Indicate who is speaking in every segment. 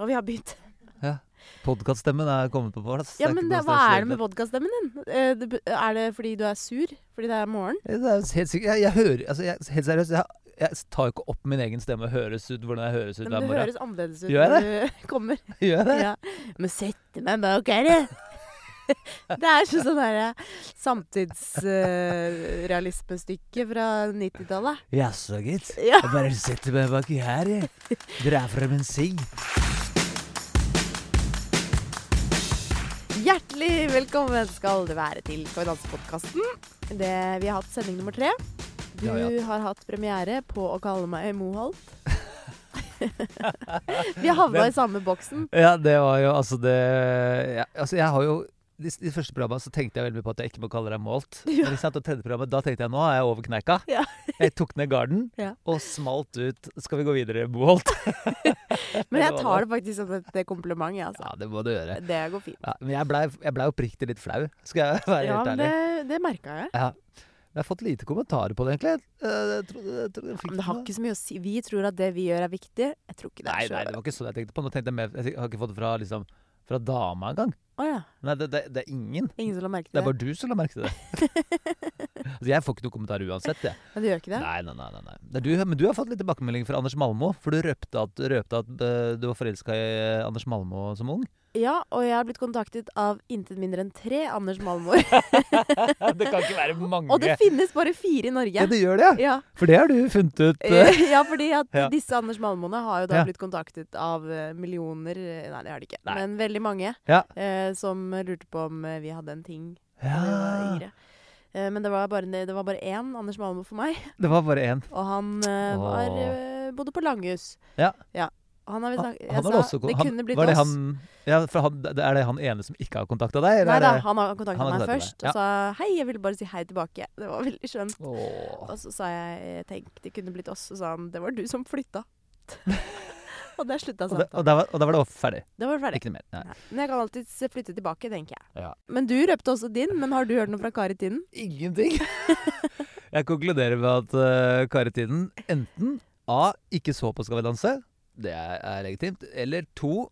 Speaker 1: Og vi har begynt.
Speaker 2: Podkaststemmen er kommet på plass.
Speaker 1: Ja, men det,
Speaker 2: ikke noe
Speaker 1: hva
Speaker 2: stress
Speaker 1: er det med
Speaker 2: rundt
Speaker 1: podkaststemmen din? Eh, det b- Er det fordi du er sur? Fordi det er morgen?
Speaker 2: det. Det er jo helt sikkert Jeg, jeg hører altså, jeg, Helt seriøst, jeg, jeg tar jo ikke opp min egen stemme og høres ut hvordan jeg høres ut
Speaker 1: Men
Speaker 2: hver
Speaker 1: det
Speaker 2: morgen.
Speaker 1: høres annerledes ut
Speaker 2: Gjør jeg
Speaker 1: når du kommer.
Speaker 2: Gjør jeg det?
Speaker 1: Ja. Må sette meg bak her, jeg. Det er sånn sånn derre samtidsrealismestykke fra 90-tallet.
Speaker 2: Jaså, gitt.
Speaker 1: Ja.
Speaker 2: Jeg bare setter meg baki her, jeg. Drar frem en sigg.
Speaker 1: Hjertelig velkommen skal du være til Konkurransepodkasten. Vi har hatt sending nummer tre. Du
Speaker 2: Det har
Speaker 1: har,
Speaker 2: vi
Speaker 1: hatt premiere på å kalle meg Moholt. vi havna
Speaker 2: Men-
Speaker 1: i samme boksen.
Speaker 2: Ja, det var jo altså det ja, Altså, jeg har jo de, de første programma så tenkte jeg veldig mye på at jeg ikke må kalle deg målt.
Speaker 1: Ja.
Speaker 2: Men ikke sant, og tredje programmet, Da tenkte jeg nå er jeg over kneika.
Speaker 1: Ja.
Speaker 2: Jeg tok ned garden
Speaker 1: Ja.
Speaker 2: og smalt ut. Skal vi gå videre, Moholt?
Speaker 1: Men jeg
Speaker 2: det var
Speaker 1: tar det faktisk som et kompliment. jeg, Altså.
Speaker 2: Ja, det må du gjøre.
Speaker 1: Det går fint.
Speaker 2: Ja, men jeg blei ble oppriktig litt flau, skal jeg være
Speaker 1: Ja,
Speaker 2: helt
Speaker 1: men
Speaker 2: ærlig.
Speaker 1: det, det merka jeg.
Speaker 2: Jeg har fått lite kommentarer på det, egentlig. Eh, Jeg trodde, jeg trodde jeg fikk
Speaker 1: Men det har
Speaker 2: noe.
Speaker 1: ikke så mye å si. Vi tror at det vi gjør er viktig. Jeg tror ikke det
Speaker 2: Nei,
Speaker 1: er
Speaker 2: nei,
Speaker 1: så
Speaker 2: det var ikke sånn jeg tenkte på. Nå tenkte Jeg mer, jeg har ikke fått det fra, liksom, fra dama engang.
Speaker 1: Å ja.
Speaker 2: Nei, det, det, det er ingen.
Speaker 1: Ingen som la merke
Speaker 2: Det
Speaker 1: til
Speaker 2: er
Speaker 1: det?
Speaker 2: bare du som la merke til det. altså, jeg får ikke noe kommentar uansett, jeg.
Speaker 1: Men det gjør ikke det?
Speaker 2: Nei, nei, nei. nei, nei. Det er du, men du har fått litt tilbakemelding fra Anders Malmo. For du røpte at, røpte at eh, du var forelska i eh, Anders Malmo som ung.
Speaker 1: Ja, og jeg har blitt kontaktet av intet mindre enn tre Anders Malmor.
Speaker 2: det kan ikke være mange.
Speaker 1: Og det finnes bare fire i Norge.
Speaker 2: ja, det gjør det, ja.
Speaker 1: Ja.
Speaker 2: For det har du funnet ut. eh,
Speaker 1: Eh, ja, fordi at
Speaker 2: Ja.
Speaker 1: disse Anders Malmoene har jo da
Speaker 2: Ja.
Speaker 1: blitt kontaktet av eh, millioner eh, Nei, det har de ikke,
Speaker 2: Nei.
Speaker 1: men veldig mange
Speaker 2: Ja.
Speaker 1: eh, som lurte på om eh, vi hadde en ting da vi var
Speaker 2: ja.
Speaker 1: yngre. Eh, men det var, bare, det var bare én Anders Malmo for meg,
Speaker 2: Det var bare én.
Speaker 1: og han eh, var,
Speaker 2: Åh.
Speaker 1: eh, bodde på Langhus.
Speaker 2: Ja.
Speaker 1: Han har vi
Speaker 2: Han,
Speaker 1: snakket
Speaker 2: han har også,
Speaker 1: Det
Speaker 2: han,
Speaker 1: kunne blitt
Speaker 2: var det
Speaker 1: oss.
Speaker 2: han, ja, for han, det- Er det han ene som ikke har kontakta deg?
Speaker 1: Nei
Speaker 2: er
Speaker 1: da,
Speaker 2: det-
Speaker 1: han har kontaktet
Speaker 2: han har
Speaker 1: meg
Speaker 2: kontaktet
Speaker 1: først
Speaker 2: deg, ja.
Speaker 1: og sa hei, jeg ville bare si hei tilbake. Det var veldig skjønt.
Speaker 2: Åh.
Speaker 1: Og så sa jeg eh, tenk, det kunne blitt oss, og så sa han det var du som flytta. og der slutta
Speaker 2: Og, det,
Speaker 1: samtalen.
Speaker 2: og, der var, og der var det også ferdig.
Speaker 1: Det var ferdig.
Speaker 2: Ikke noe mer. Nei.
Speaker 1: Nei. Men jeg kan alltids flytte tilbake, tenker jeg.
Speaker 2: Ja.
Speaker 1: Men du røpte også din, men har du hørt noe fra Kari Tinden?
Speaker 2: Ingenting. Jeg konkluderer med at uh, Kari Tiden enten A. Ikke så på Skal vi danse. Det er, er legitimt. Eller to.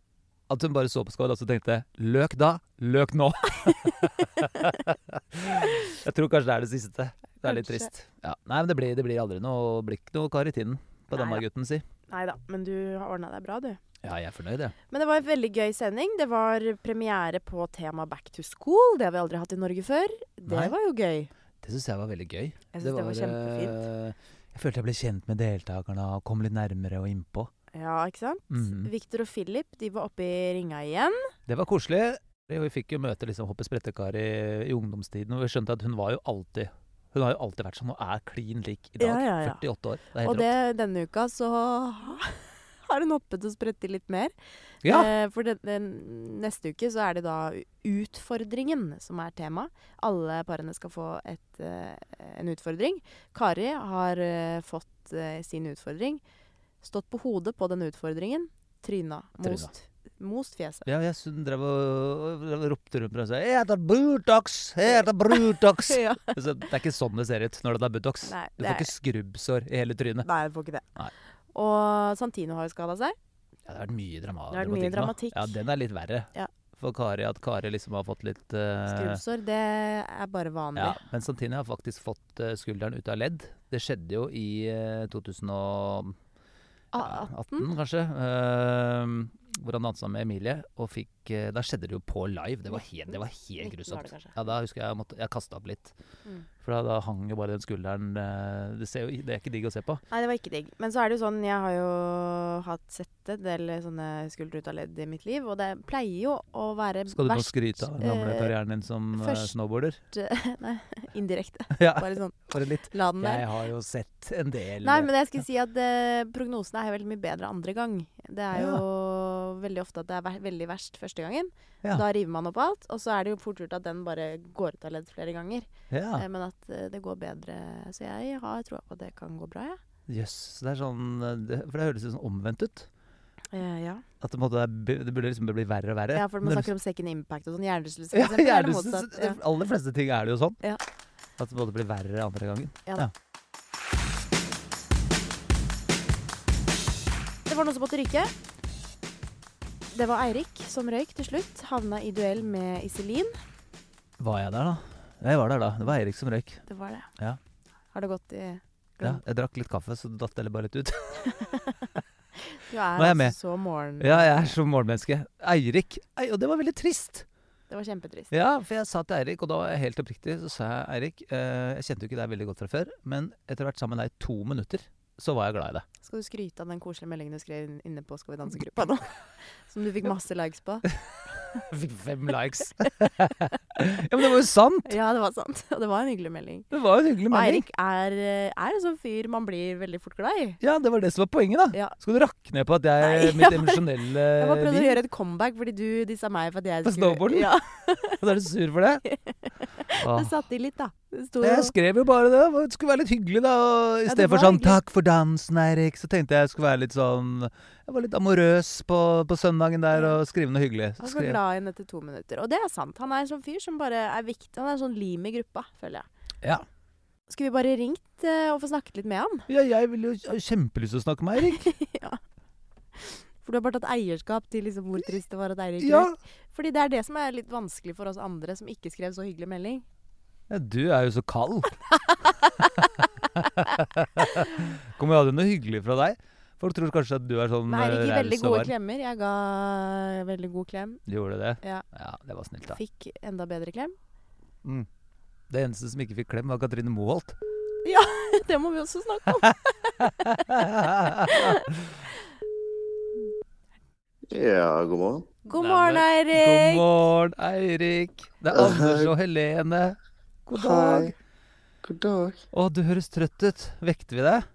Speaker 2: At hun bare så på Skal vi danse og tenkte løk da, løk nå. Jeg tror kanskje det er det siste. Det er litt
Speaker 1: Kanskje.
Speaker 2: trist. Ja. Nei, men det blir, det blir aldri noe, blir ikke noe Kari Tiden på
Speaker 1: Nei da.
Speaker 2: denne gutten, si.
Speaker 1: Nei da, men du har ordna deg bra, du.
Speaker 2: Ja, jeg er fornøyd, jeg.
Speaker 1: Men det var en veldig gøy sending. Det var premiere på tema back to school. Det har vi aldri hatt i Norge før. Det
Speaker 2: Nei.
Speaker 1: var jo gøy.
Speaker 2: Det syns jeg var veldig gøy.
Speaker 1: Jeg syns det, var kjempefint.
Speaker 2: eh, Jeg følte jeg ble kjent med deltakerne og kom litt nærmere og innpå.
Speaker 1: Ja, ikke sant?
Speaker 2: Mhm.
Speaker 1: Victor og Philip de var oppe i ringa igjen.
Speaker 2: Det var koselig. Vi fikk jo møte liksom, Hoppe Sprettekar i, i ungdomstiden, og vi skjønte at hun var jo alltid Hun har jo alltid vært sånn og er klin lik i dag.
Speaker 1: Ja, ja, ja.
Speaker 2: 48 år. Det er
Speaker 1: Og
Speaker 2: helt rått.
Speaker 1: det, denne uka så har hun hoppet og sprettet litt mer.
Speaker 2: Ja,
Speaker 1: Eh, for den- den- neste uke så er det da utfordringen som er tema. Alle parene skal få et, eh, en utfordring. Kari har eh, fått eh, sin utfordring. Stått på hodet på den utfordringen. Tryna.
Speaker 2: Tryna.
Speaker 1: Most, most fjeset.
Speaker 2: ja jeg hun drev og, og ropte rundt og sa 'Jeg heter Brutox! Jeg heter Brutox!'
Speaker 1: Ja.
Speaker 2: Så det er ikke sånn det ser ut når det er Butox.
Speaker 1: Nei,
Speaker 2: Du
Speaker 1: det
Speaker 2: får
Speaker 1: er-
Speaker 2: ikke skrubbsår i hele trynet.
Speaker 1: Nei, jeg får ikke det.
Speaker 2: Nei.
Speaker 1: Og Santino har jo skada seg.
Speaker 2: Ja, det har vært mye drama
Speaker 1: Det har vært mye
Speaker 2: dramatikk
Speaker 1: dramatikk.
Speaker 2: nå. Ja, den er litt verre.
Speaker 1: Ja.
Speaker 2: For Kari, at Kari liksom har fått litt eh,
Speaker 1: Skrubbsår, det er bare vanlig.
Speaker 2: Ja, men samtidig har jeg faktisk fått eh, skulderen ut av ledd. Det skjedde jo i eh, 2018,
Speaker 1: Ah,
Speaker 2: kanskje. eh, hvor han dansa med Emilie. Og fikk, eh, da skjedde det jo på live. Det var helt, det var helt
Speaker 1: Nitten var det
Speaker 2: grusomt.
Speaker 1: kanskje.
Speaker 2: Ja, da husker jeg jeg, måtte- jeg kasta opp litt.
Speaker 1: Mm.
Speaker 2: For da, da hang jo bare den skulderen eh, det, ser jo, det er ikke digg å se på.
Speaker 1: Nei, det var ikke digg. Men så er det jo sånn, jeg har jo hatt sett en del sånne skuldre ut av ledd i mitt liv, og det pleier jo å være
Speaker 2: Skal du nå
Speaker 1: verst
Speaker 2: skryte av den gamle
Speaker 1: eh,
Speaker 2: karrieren din som eh,
Speaker 1: først-
Speaker 2: snowboarder?
Speaker 1: indirekte.
Speaker 2: Ja,
Speaker 1: Bare sånn,
Speaker 2: bare litt.
Speaker 1: la den der.
Speaker 2: Jeg har jo sett en del
Speaker 1: Nei, men jeg skulle si at eh, prognosene er jo veldig mye bedre andre gang. Det er jo veldig ofte at det er ver veldig verst første gangen.
Speaker 2: Ja.
Speaker 1: Da river man opp alt, og så er det jo fort gjort at den bare går ut av ledd flere ganger.
Speaker 2: Ja,
Speaker 1: Eh, Men at eh, det går bedre. Så jeg har troa på at det kan gå bra, jeg.
Speaker 2: Jøss. så det er sånn eh, det, For det høres jo sånn omvendt ut.
Speaker 1: Ja. ja.
Speaker 2: At det, på en måte er, bu- det burde liksom bli verre og verre.
Speaker 1: ja, for man
Speaker 2: Men-
Speaker 1: snakker om second impact og sånn. Hjernerystelse,
Speaker 2: ja,
Speaker 1: for eksempel. eller
Speaker 2: gjerne, så-
Speaker 1: motsatt.
Speaker 2: så- De aller fleste ting er det jo sånn.
Speaker 1: Ja.
Speaker 2: At det både blir verre andre gangen.
Speaker 1: Ja da. Det var noen som måtte ryke. Det var Eirik som røyk til slutt. Havna i duell med Iselin.
Speaker 2: Var jeg der, da? Jeg var der da. Det var Eirik som røyk.
Speaker 1: Det var det.
Speaker 2: Ja.
Speaker 1: Har det gått i
Speaker 2: Ja, jeg drakk litt kaffe, så datt det bare litt ut.
Speaker 1: Du er
Speaker 2: Nå er jeg
Speaker 1: altså
Speaker 2: med.
Speaker 1: så morgen...
Speaker 2: Ja, jeg er som morgenmenneske. Eirik. Ei, og det var veldig trist.
Speaker 1: Det var kjempetrist.
Speaker 2: Ja, for jeg sa til Eirik, og da var jeg helt oppriktig, så sa jeg Eirik, eh, jeg kjente jo ikke deg veldig godt fra før, men etter å ha vært sammen med deg i to minutter, så var jeg glad i deg.
Speaker 1: Skal du skryte av den koselige meldingen du skrev inn- inne på Skal vi danse-gruppa nå? Som du fikk masse likes på.
Speaker 2: Jeg fikk fem likes. ja, men det var jo sant!
Speaker 1: Ja, det var sant. Og det var en hyggelig melding.
Speaker 2: Det var jo en hyggelig
Speaker 1: Og
Speaker 2: melding.
Speaker 1: Eirik er, eh, er en sånn fyr man blir veldig fort glad i.
Speaker 2: Ja, det var det som var poenget, da.
Speaker 1: Ja.
Speaker 2: Skal du rakke ned på at jeg,
Speaker 1: Nei, jeg
Speaker 2: mitt
Speaker 1: bare-
Speaker 2: emosjonelle
Speaker 1: Jeg bare prøvde å
Speaker 2: liv?
Speaker 1: gjøre et comeback fordi du dissa meg for at jeg
Speaker 2: Eh, På
Speaker 1: skulle
Speaker 2: snowboarden? Ah.
Speaker 1: Ja,
Speaker 2: Og da er du sur for det?
Speaker 1: det
Speaker 2: Åh.
Speaker 1: satt i litt, da. Det sto
Speaker 2: Jeg
Speaker 1: jo
Speaker 2: skrev jo bare det. Det skulle være litt hyggelig, da. Og I
Speaker 1: Ja, det
Speaker 2: stedet for
Speaker 1: var
Speaker 2: sånn
Speaker 1: hyggelig.
Speaker 2: 'takk for dansen, Eirik', så tenkte jeg jeg skulle være litt sånn Jeg var litt amorøs på, på søndagen der og skrive noe hyggelig.
Speaker 1: Han var
Speaker 2: Skrev.
Speaker 1: glad igjen etter to minutter. Og det er sant. Han er en sånn fyr som bare er viktig. Han er en sånn lim i gruppa, føler jeg.
Speaker 2: Ja.
Speaker 1: Skulle vi bare ringt eh, og få snakket litt med han?
Speaker 2: ja, jeg ville jo jeg har jo kjempelyst til å snakke med Eirik.
Speaker 1: For du har bare tatt eierskap til liksom hvor trist det var at Eirik
Speaker 2: Ja.
Speaker 1: røyk. Fordi det er det som er litt vanskelig for oss andre som ikke skrev så hyggelig melding.
Speaker 2: ja. Du er jo så kald. Kommer jo aldri noe hyggelig fra deg. Folk tror kanskje at du er sånn
Speaker 1: Men Eirik
Speaker 2: eh,
Speaker 1: gir veldig
Speaker 2: raus og
Speaker 1: gode
Speaker 2: varm.
Speaker 1: klemmer. Jeg ga veldig god klem.
Speaker 2: Gjorde det?
Speaker 1: Ja.
Speaker 2: ja, det var snilt, da.
Speaker 1: Fikk enda bedre klem.
Speaker 2: Mm. Det eneste som ikke fikk klem, var Katrine Moholt.
Speaker 1: Det må vi også snakke om.
Speaker 3: Ja, god morgen.
Speaker 1: God
Speaker 2: Nei,
Speaker 1: morgen,
Speaker 2: God
Speaker 1: Eirik.
Speaker 2: morgen, Eirik. Det er Anders og Helene. God dag.
Speaker 3: Hei. God dag.
Speaker 2: Å, du høres trøtt ut. Vekte vi deg?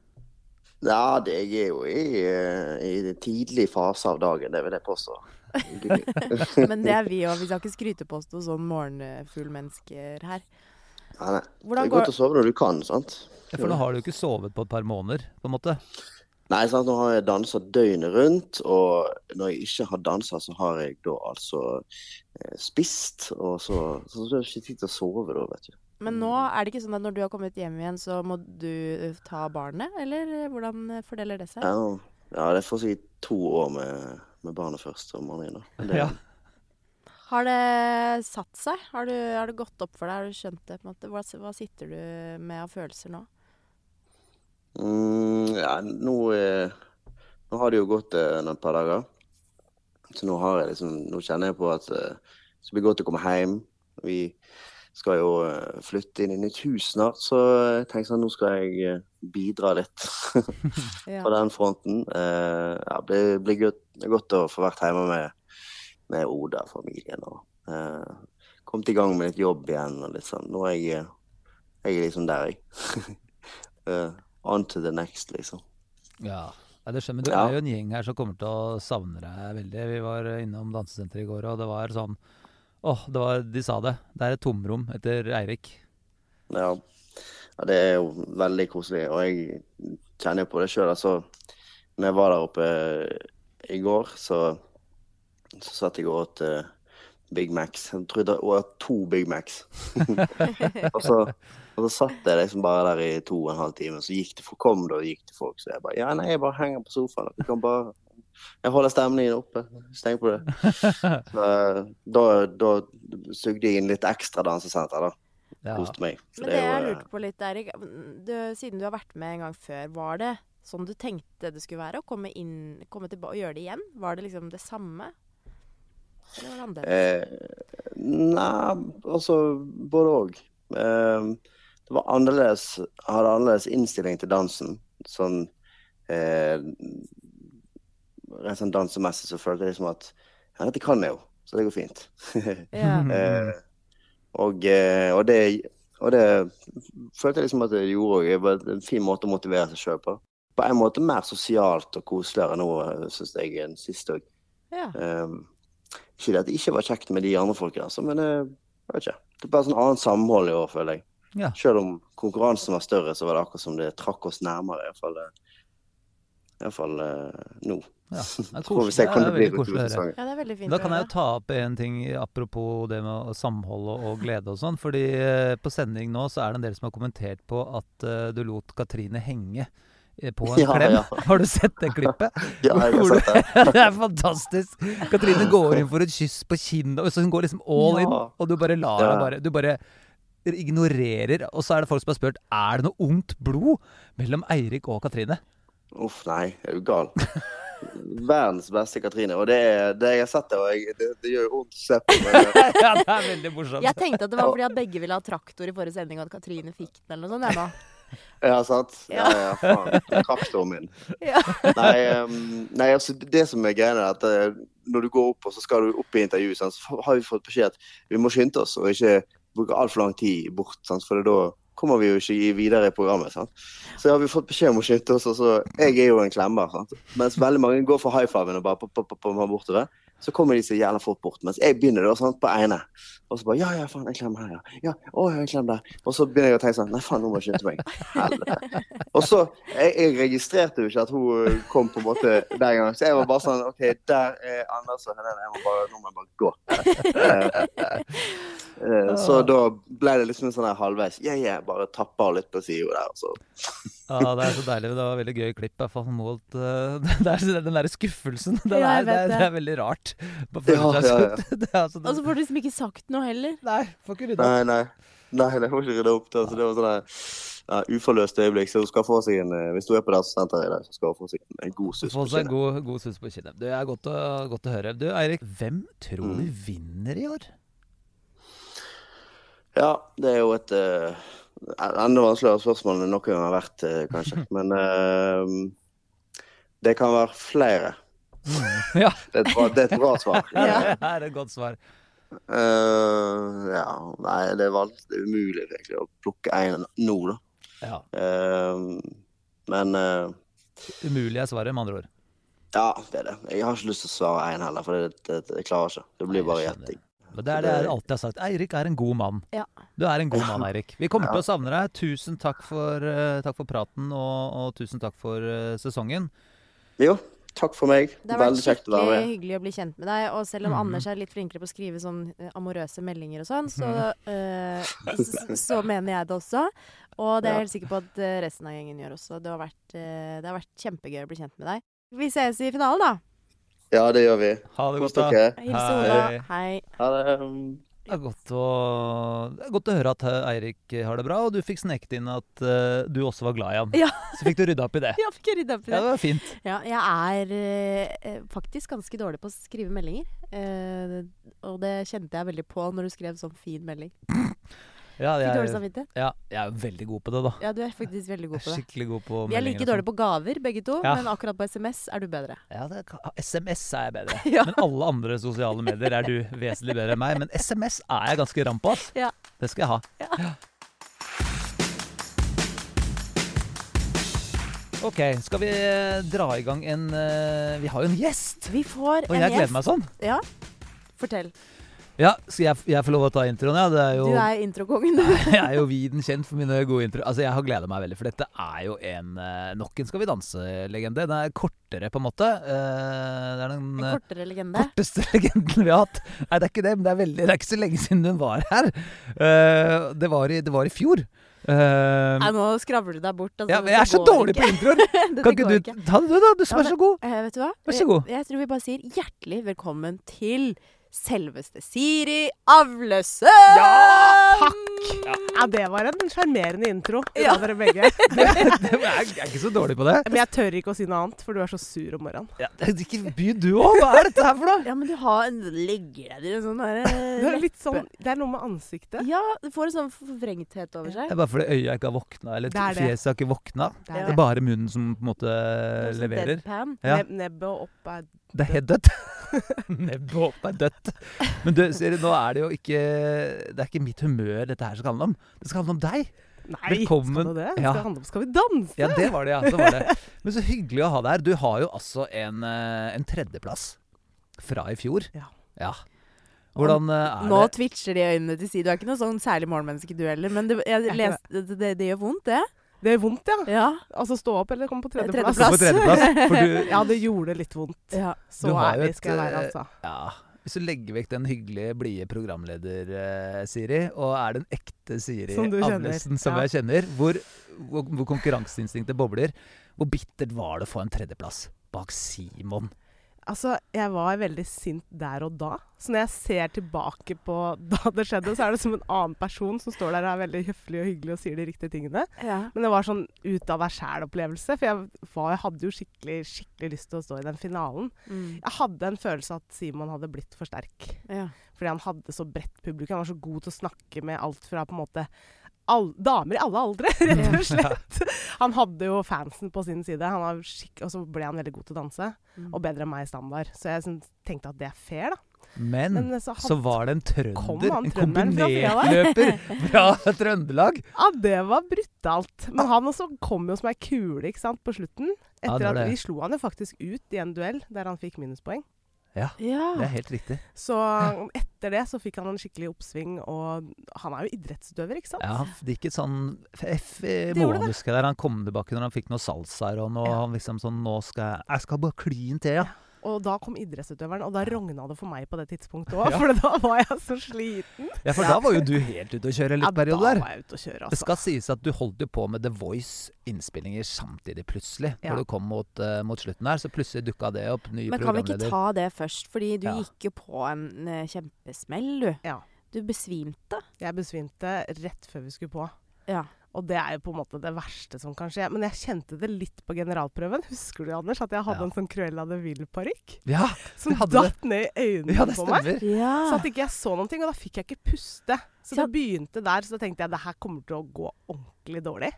Speaker 3: Ja, det jeg er jo i, eh, i den tidlige fase av dagen, det vil jeg påstå.
Speaker 1: Men det er vi òg. Vi skal ikke skryte på oss noen sånn morgenfuglmennesker her.
Speaker 3: Ja, nei. Det
Speaker 1: Hvordan
Speaker 3: er
Speaker 1: går
Speaker 3: godt å sove når du kan, sant?
Speaker 2: Ja, For nå har du jo ikke sovet på et par måneder, på en måte.
Speaker 3: Nei, sant? nå har jeg dansa døgnet rundt, og når jeg ikke har dansa, så har jeg da altså eh, spist, og så, så, så er det ikke tid til å sove da, vet du.
Speaker 1: Men nå er det ikke sånn at når du har kommet hjem igjen, så må du eh, ta barnet, eller hvordan eh, fordeler det seg?
Speaker 3: Ja, ja det får sikkert to år med, med barnet først om morgenen, da. Men det-
Speaker 2: Ja.
Speaker 1: Har det satt seg? Har, du, har det gått opp for deg? Har du skjønt det? på en måte? Hva, hva sitter du med av følelser nå?
Speaker 3: Mm, ja, nå, eh, nå har det jo gått eh, noen par dager. Så nå, har jeg liksom, nå kjenner jeg på at eh, det blir godt å komme hjem. Vi skal jo eh, flytte inn i nytt hus snart, så jeg tenker sånn, nå skal jeg eh, bidra litt
Speaker 1: Ja.
Speaker 3: på den fronten. Eh, ja, det blir, blir godt, det er godt å få vært hjemme med, med Oda og familien. Og eh, kommet i gang med litt jobb igjen. Og litt sånn. Nå er jeg, jeg er liksom der, jeg. Eh, on to the next, liksom.
Speaker 2: Ja. Nei, det skjønner jeg. Du
Speaker 3: Ja.
Speaker 2: er jo en gjeng her som kommer til å savne deg veldig. Vi var innom dansesenteret i går, og det var sånn Åh, det var, de sa det. Det er et tomrom etter Eirik.
Speaker 3: Ja. ja, det er jo veldig koselig. Og jeg kjenner jo på det sjøl. Altså, når jeg var der oppe i går, så, så satt jeg og åt eh, Big Macs. Jeg tror jeg åt to Big Macs. og, så, og så satt jeg liksom bare der i to og en halv time, så gikk det for, kom det og gikk det folk. Så jeg bare Ja, nei, jeg bare henger på sofaen. Vi kan bare Jeg holder stemningen oppe. Steng på det. Så, eh, da, da sugde jeg inn litt ekstra dansesenter, da.
Speaker 2: Ja.
Speaker 3: Koste meg. Så
Speaker 1: Men det
Speaker 3: er jo,
Speaker 1: jeg
Speaker 3: eh,
Speaker 1: lurte på litt, Eirik, du, siden du har vært med en gang før, var det sånn du tenkte det skulle være? Å komme inn, komme tilbake og gjøre det igjen? Var det liksom det samme? Eller var det annerledes?
Speaker 3: Eh, nei, altså både òg. Eh, det var annerledes jeg Hadde annerledes innstilling til dansen. Sånn eh, Rent sånn dansemessig så følte jeg liksom at Ja, dette kan jeg jo, så det går fint.
Speaker 1: Ja.
Speaker 3: eh, og, eh, og det og det følte jeg liksom at det gjorde òg. Det var en fin måte å motivere seg sjøl på. På en måte mer sosialt og koseligere nå, syns jeg, enn sist òg.
Speaker 1: ja.
Speaker 3: Um, ikke det at det ikke var kjekt med de andre folkene, altså, men eh, jeg vet ikke. Det er bare sånn annet samhold i år, føler jeg.
Speaker 2: Ja.
Speaker 3: Selv om konkurransen var større, så var det akkurat som det trakk oss nærmere, iallfall Iallfall uh, nå.
Speaker 2: ja. Det er
Speaker 3: Så får
Speaker 2: koselig.
Speaker 3: vi se
Speaker 2: Det
Speaker 3: hvordan
Speaker 2: er
Speaker 3: det blir
Speaker 2: veldig koselig å høre.
Speaker 1: ja, det er veldig fint
Speaker 2: Da kan
Speaker 1: å
Speaker 2: jeg
Speaker 1: høre.
Speaker 2: jo ta opp en ting apropos det med å samholde og glede og sånn. Fordi eh, på sending nå så er det en del som har kommentert på at eh, du lot Katrine henge eh, på en
Speaker 3: Ja,
Speaker 2: klem.
Speaker 3: ja.
Speaker 2: Har du sett det klippet?
Speaker 3: Ja, jeg har
Speaker 2: Hvor du-
Speaker 3: sett det.
Speaker 2: det er fantastisk! Katrine går inn for et kyss på kinnet, og så hun går liksom all in,
Speaker 3: Ja.
Speaker 2: og du bare lar
Speaker 3: Ja.
Speaker 2: henne bare Du bare ignorerer, og så er det folk som har spurt er det noe ondt blod mellom Eirik og Katrine.
Speaker 3: Uff, nei, er du gal? Verdens beste Katrine. Og det, er, det jeg har sett, det, og jeg, det, det gjør jo vondt å se på. Men,
Speaker 2: Ja, det er veldig morsomt.
Speaker 1: Jeg tenkte at det var fordi at begge ville ha traktor i forrige sending, og at Katrine fikk den eller noe sånt. Jeg nå.
Speaker 3: ja, sant? Ja, ja, faen. Traktoren min.
Speaker 1: Ja.
Speaker 3: Nei, em, nei, altså, det som er greia, er at eh, når du går opp, og så skal du opp i intervju, sant, så har vi fått beskjed at vi må skynde oss og ikke bruke altfor lang tid bort, sant, for da kommer vi jo ikke i- videre i programmet. Sant? Så har vi fått beskjed om å skynde oss, og så Jeg er jo en klemmer, sant? mens veldig mange går for high fiven og bare pop, pop, pop, pop, her bortover. Så kommer de så jævla fort bort, mens jeg begynner da, sant, på ene. Og så bare Ja, ja, faen, jeg klemmer her, ja. ja å, jeg klemmer der. Og så begynner jeg å tenke sånn Nei, faen, nå må jeg skynde meg. Helvete. Og så, jeg, jeg registrerte jo ikke at hun eh, kom på en måte den gangen. Så jeg var bare sånn OK, der er Anders og Helene. Jeg må bare, nå må jeg bare gå. Eh, eh, Så da ble det liksom en sånn her halvveis Ja, ja, bare tappa litt på sida der. og Så.
Speaker 2: Ja, det er så deilig. Det var veldig gøy klipp. i hvert fall mot, eh, det er, så- den derre skuffelsen. Den
Speaker 1: Ja,
Speaker 2: er,
Speaker 1: jeg
Speaker 2: det, er,
Speaker 1: vet
Speaker 2: det er veldig rart. Man føler
Speaker 3: Ja,
Speaker 2: seg
Speaker 3: ja,
Speaker 2: så- det er altså-
Speaker 1: Og så får du liksom ikke sagt noe heller.
Speaker 2: Nei, får ikke rydda.
Speaker 3: Nei, nei. Nei, det var ikke rydda opp. da, Så det var sånn her ja, uforløst øyeblikk. Så hun skal få seg en eh, Hvis hun er på dansesenteret i dag, så skal hun få seg en- en god sus
Speaker 2: Få
Speaker 3: på
Speaker 2: seg
Speaker 3: kinnet.
Speaker 2: god, god sus på kinnet. Det er godt å, godt å høre. Du, Eirik, hvem
Speaker 3: Mm.
Speaker 2: tror du vinner i år?
Speaker 3: Ja, det er jo et eh, enda vanskeligere spørsmål enn noen gang har vært, eh, kanskje. Men eh, det kan være flere.
Speaker 2: Ja,
Speaker 3: Det er et bra, det er et bra svar.
Speaker 2: det er et godt svar.
Speaker 3: Eh, ja, nei, det er, vanskelig, det er umulig egentlig å plukke en nå, da.
Speaker 2: Ja,
Speaker 3: Eh, men eh,
Speaker 2: Umulig er svaret, med andre ord.
Speaker 3: ja, det er det. Jeg har ikke lyst til å svare en heller, for det, det, det jeg klarer ikke. Det blir
Speaker 2: Nei,
Speaker 3: bare
Speaker 2: jeg skjønner.
Speaker 3: gjetting.
Speaker 2: Men det er det jeg alltid har sagt. Eirik er en god mann.
Speaker 1: Ja.
Speaker 2: Du er en god mann, Eirik. Vi kommer til å savne deg. Tusen takk for, eh, takk for praten, og, og tusen takk for eh, sesongen.
Speaker 3: Jo, takk for meg.
Speaker 1: Det har vært
Speaker 3: Veldig kjekt å være
Speaker 1: skikkelig
Speaker 3: med.
Speaker 1: hyggelig å bli kjent med deg. Og selv om Anders er litt flinkere på å skrive sånn eh, amorøse meldinger og sånn, så, eh, så, så mener jeg det også. Og det er
Speaker 3: Ja.
Speaker 1: jeg helt sikker på at eh, resten av gjengen gjør også. Det har vært, eh, det har vært kjempegøy å bli kjent med deg. Vi ses i finalen, da.
Speaker 3: Ja, det gjør vi.
Speaker 2: Ha det
Speaker 3: Kos
Speaker 2: godt, da.
Speaker 3: dere.
Speaker 1: Hils
Speaker 2: Hei.
Speaker 1: Ola. Hei.
Speaker 3: Ha det.
Speaker 2: Det er godt å, det er godt å høre at eh, Eirik har det bra, og du fikk sneket inn at eh, du også var glad i han.
Speaker 1: Ja.
Speaker 2: Så fikk du rydda opp i det.
Speaker 1: Ja, fikk jeg rydda opp i
Speaker 2: Ja,
Speaker 1: det.
Speaker 2: det var fint.
Speaker 1: Ja, jeg er eh, eh, faktisk ganske dårlig på å skrive meldinger. Eh, og det kjente jeg veldig på når du skrev sånn fin melding.
Speaker 2: Ja,
Speaker 1: Fikk dårlig
Speaker 2: jeg,
Speaker 1: samvittighet?
Speaker 2: ja, jeg er veldig god på det, da.
Speaker 1: Ja, du er faktisk veldig god
Speaker 2: Jeg
Speaker 1: på
Speaker 2: er
Speaker 1: det.
Speaker 2: skikkelig god på sånn.
Speaker 1: Vi er like dårlige på gaver, begge to,
Speaker 2: Ja.
Speaker 1: men akkurat på SMS er du bedre.
Speaker 2: Ja, det kan, SMS er jeg bedre.
Speaker 1: Ja.
Speaker 2: Men alle andre sosiale medier er du vesentlig bedre enn meg. Men SMS er jeg ganske ram på, ass.
Speaker 1: Ja.
Speaker 2: Det skal jeg ha. Ja. Ok, skal vi eh, dra i gang en eh, Vi har jo en gjest!
Speaker 1: Vi får
Speaker 2: Og
Speaker 1: en
Speaker 2: jeg gleder
Speaker 1: gjest.
Speaker 2: meg sånn.
Speaker 1: Ja, fortell.
Speaker 2: Ja, Skal jeg, jeg få lov å ta introen? Ja, det er jo
Speaker 1: Du er introkongen, du.
Speaker 2: jeg er jo viden kjent for mine gode intro. Altså, Jeg har gleda meg veldig, for dette er jo en eh, nok en Skal vi danse-legende. Den er kortere, på en måte. Eh, Det er den
Speaker 1: En
Speaker 2: eh,
Speaker 1: kortere legende.
Speaker 2: korteste legenden vi har hatt. Nei, det er ikke det, men det er, veldig, det er ikke så lenge siden hun var her. Eh, det, var i, det var i fjor. Eh,
Speaker 1: Nei, nå skravler du deg bort. altså,
Speaker 2: ja, men
Speaker 1: dette
Speaker 2: jeg er så
Speaker 1: går
Speaker 2: dårlig
Speaker 1: ikke.
Speaker 2: på introer!
Speaker 1: Dette
Speaker 2: Kan ikke
Speaker 1: går
Speaker 2: du ta det, du, da? Du som
Speaker 1: Ja,
Speaker 2: er
Speaker 1: men-
Speaker 2: så god.
Speaker 1: Eh, vet du hva?
Speaker 2: Vær så god.
Speaker 1: Jeg, jeg tror vi bare sier hjertelig velkommen til selveste Siri Avlesøm!
Speaker 4: Ja, takk! Ja, det var en sjarmerende intro. Det
Speaker 1: Ja.
Speaker 4: var dere begge.
Speaker 2: Jeg er, jeg er ikke så dårlig på det.
Speaker 4: Men jeg tør ikke å si noe annet, for du er så sur om morgenen.
Speaker 2: Ja, det er ikke by du òg! Hva er dette her for noe?
Speaker 1: Ja, men du har en Ligger det i en sånn
Speaker 4: Du er
Speaker 1: derre
Speaker 4: litt sånn, det er noe med ansiktet.
Speaker 1: Ja, du får en sånn forvrengthet over
Speaker 2: Det
Speaker 1: seg.
Speaker 2: er bare fordi øya ikke har våkna, eller
Speaker 4: Det er det.
Speaker 2: fjeset har ikke våkna.
Speaker 4: Det
Speaker 1: Ja.
Speaker 4: er
Speaker 2: Det er
Speaker 4: det.
Speaker 2: bare munnen som på en måte
Speaker 1: Noe sånn
Speaker 2: eh, leverer.
Speaker 1: Deadpan.
Speaker 2: Ja.
Speaker 4: Neb nebbet og opp er
Speaker 2: Det er helt dødt. Nebbet opp er dødt. Men du, Siri, nå er det jo ikke Det er ikke mitt humør dette her skal handle om. Det skal handle om deg.
Speaker 4: Nei,
Speaker 2: Velkommen.
Speaker 4: skal det det?
Speaker 2: Ja.
Speaker 4: Skal, det handle om, skal vi danse?
Speaker 2: Ja, det var det, ja. Så var det. Men så hyggelig å ha deg her. Du har jo altså en, eh, en tredjeplass fra i fjor.
Speaker 4: Ja.
Speaker 2: Hvordan eh, er
Speaker 1: Nå
Speaker 2: det?
Speaker 1: twitcher de øynene til Siri. Du er ikke noe sånn særlig morgenmenneske du heller, men det, jeg
Speaker 4: ikke
Speaker 1: leste, det, det, det gjør vondt, det.
Speaker 4: Det gjør vondt, ja.
Speaker 1: Ja.
Speaker 4: Altså stå opp eller komme på
Speaker 2: Du
Speaker 4: tredjeplass.
Speaker 2: får tredjeplass, for du
Speaker 4: Ja, det gjorde litt vondt.
Speaker 1: ja.
Speaker 4: Så
Speaker 2: Du har jo
Speaker 4: ærlig
Speaker 2: et,
Speaker 4: skal jeg være,
Speaker 2: eh,
Speaker 4: altså.
Speaker 2: Ja. Hvis du legger vekk den hyggelige, blide programleder eh, Siri, og er den ekte Siri
Speaker 4: Som du kjenner,
Speaker 2: Amundsen som
Speaker 4: ja.
Speaker 2: jeg kjenner, hvor, hvor, hvor konkurranseinstinktet bobler, hvor bittert var det å få en tredjeplass bak Simon?
Speaker 4: Altså, jeg var veldig sint der og da. Så når jeg ser tilbake på da det skjedde, så er det som en annen person som står der og er veldig høflig og hyggelig og sier de riktige tingene.
Speaker 1: Ja.
Speaker 4: Men det var sånn ut av deg sjæl-opplevelse. For jeg, var, jeg hadde jo skikkelig, skikkelig lyst til å stå i den finalen.
Speaker 1: Mm.
Speaker 4: Jeg hadde en følelse at Simon hadde blitt for sterk.
Speaker 1: ja.
Speaker 4: Fordi han hadde så bredt publikum. Han var så god til å snakke med alt fra på en måte all, damer i alle aldre, rett og slett. Han hadde jo fansen på sin side, han var skikk- og så ble han veldig god til å danse.
Speaker 1: Mm.
Speaker 4: Og bedre enn meg i standard. Så jeg syns- tenkte at det er fair, da.
Speaker 2: Men,
Speaker 4: Men så,
Speaker 2: så
Speaker 4: hadde-
Speaker 2: var det en
Speaker 4: Kom
Speaker 2: trønder,
Speaker 4: han
Speaker 2: en
Speaker 4: trønderen fra siden
Speaker 2: kombinertløper fra Trøndelag.
Speaker 4: Ja, det var brutalt. Men han også kom jo som ei kule, ikke sant, på slutten.
Speaker 2: Ah. Ja,
Speaker 4: Etter
Speaker 2: det var
Speaker 4: at
Speaker 2: det.
Speaker 4: vi slo han jo faktisk ut i en duell der han fikk minuspoeng.
Speaker 2: Det
Speaker 1: ja.
Speaker 2: er helt riktig.
Speaker 4: Så etter det så fikk han en skikkelig oppsving, og han er jo idrettsutøver, ikke sant?
Speaker 2: Ja, han f- det gikk et sånn F i
Speaker 4: Det gjorde
Speaker 2: målen,
Speaker 4: det.
Speaker 2: husker jeg. der Han kom tilbake når han fikk noe salsaer og noe.
Speaker 4: Ja.
Speaker 2: Han liksom sånn Nå skal jeg Jeg skal bare kly en til, ja.
Speaker 4: Og da kom idrettsutøveren, og da rogna det for meg på det tidspunktet òg, for da var jeg så sliten.
Speaker 2: Ja, for da var jo du helt ute å kjøre en
Speaker 4: Ja,
Speaker 2: liten
Speaker 4: da
Speaker 2: periode der.
Speaker 4: var jeg ute å kjøre,
Speaker 2: Det
Speaker 4: altså.
Speaker 2: skal sies at du holdt jo på med The Voice-innspillinger samtidig, plutselig.
Speaker 4: Ja.
Speaker 2: Når du kom mot, eh, mot slutten her, så plutselig dukka det opp. Ny
Speaker 1: Men kan vi ikke
Speaker 2: programleder.
Speaker 1: ta det først? Fordi du
Speaker 2: Ja.
Speaker 1: gikk jo på en eh, kjempesmell, du.
Speaker 4: Ja.
Speaker 1: Du besvimte.
Speaker 4: Jeg besvimte rett før vi skulle på.
Speaker 1: Ja.
Speaker 4: Og det er jo på en måte det verste som kan skje. Men jeg kjente det litt på generalprøven. Husker du, Anders, at jeg hadde
Speaker 2: Ja.
Speaker 4: en sånn Cruella de Vil-parykk?
Speaker 2: Ja,
Speaker 4: Som
Speaker 2: Du hadde
Speaker 4: datt ned i øynene
Speaker 2: ja, det
Speaker 4: på meg.
Speaker 2: stemmer.
Speaker 4: Så
Speaker 1: ja.
Speaker 4: at ikke jeg så noen ting, og da fikk jeg ikke puste. Så
Speaker 1: Ja.
Speaker 4: det begynte der, så da tenkte jeg det her kommer til å gå ordentlig dårlig.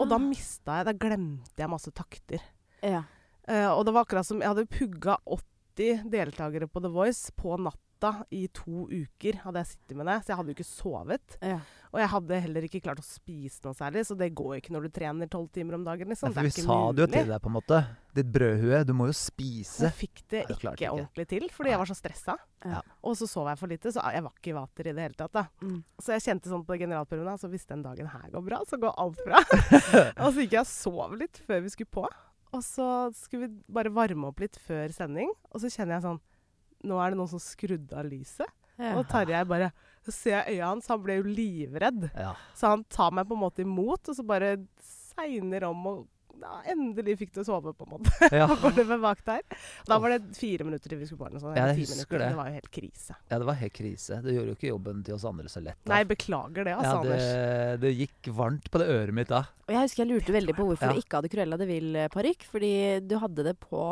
Speaker 4: Og da mista jeg, da glemte jeg masse takter.
Speaker 1: ja.
Speaker 4: Eh, og det var akkurat som jeg hadde pugga 80 deltakere på The Voice på natta i to uker. hadde jeg sittet med det, Så jeg hadde jo ikke sovet.
Speaker 1: ja.
Speaker 4: Og jeg hadde heller ikke klart å spise noe særlig, så det går jo ikke når du trener tolv timer om dagen.
Speaker 2: Ja,
Speaker 4: Liksom.
Speaker 2: for
Speaker 4: Det er
Speaker 2: vi
Speaker 4: ikke
Speaker 2: sa det jo
Speaker 4: mulig.
Speaker 2: til deg, på en måte. Ditt brødhue, du må jo spise.
Speaker 4: Jeg fikk det
Speaker 2: Nei, det
Speaker 4: ikke
Speaker 2: klarte jeg ikke.
Speaker 4: ordentlig til, fordi jeg var så stressa.
Speaker 1: Ja.
Speaker 4: Og så sov jeg for lite, så jeg var ikke i vater i det hele tatt. Da.
Speaker 1: Mm.
Speaker 4: Så jeg kjente sånn på generalprøven, da, så hvis den dagen her går bra, så går alt bra. og så gikk jeg og sov litt før vi skulle på. Og så skulle vi bare varme opp litt før sending, og så kjenner jeg sånn Nå er det noen som skrudde av lyset.
Speaker 1: Ja.
Speaker 4: Og Tarjei bare Så ser jeg øya hans, han ble jo livredd.
Speaker 2: Ja.
Speaker 4: Så han tar meg på en måte imot, og så bare segner om og ja, endelig fikk du sove, på en måte.
Speaker 2: Ja.
Speaker 4: Og går det med bak der. Da var det fire minutter til vi skulle på den. Sånn,
Speaker 2: Ja,
Speaker 4: eller
Speaker 2: jeg husker
Speaker 4: ti minutter.
Speaker 2: det.
Speaker 4: Det var jo helt krise.
Speaker 2: ja, det var helt krise. Det gjorde jo ikke jobben til oss andre så lett. da.
Speaker 4: Nei, beklager det, altså,
Speaker 2: ja, det,
Speaker 4: Anders.
Speaker 2: det gikk varmt på det øret mitt da.
Speaker 1: Og jeg husker jeg lurte veldig på hvorfor
Speaker 2: Ja.
Speaker 1: du ikke hadde Cruella de Vil-parykk. Fordi du hadde det på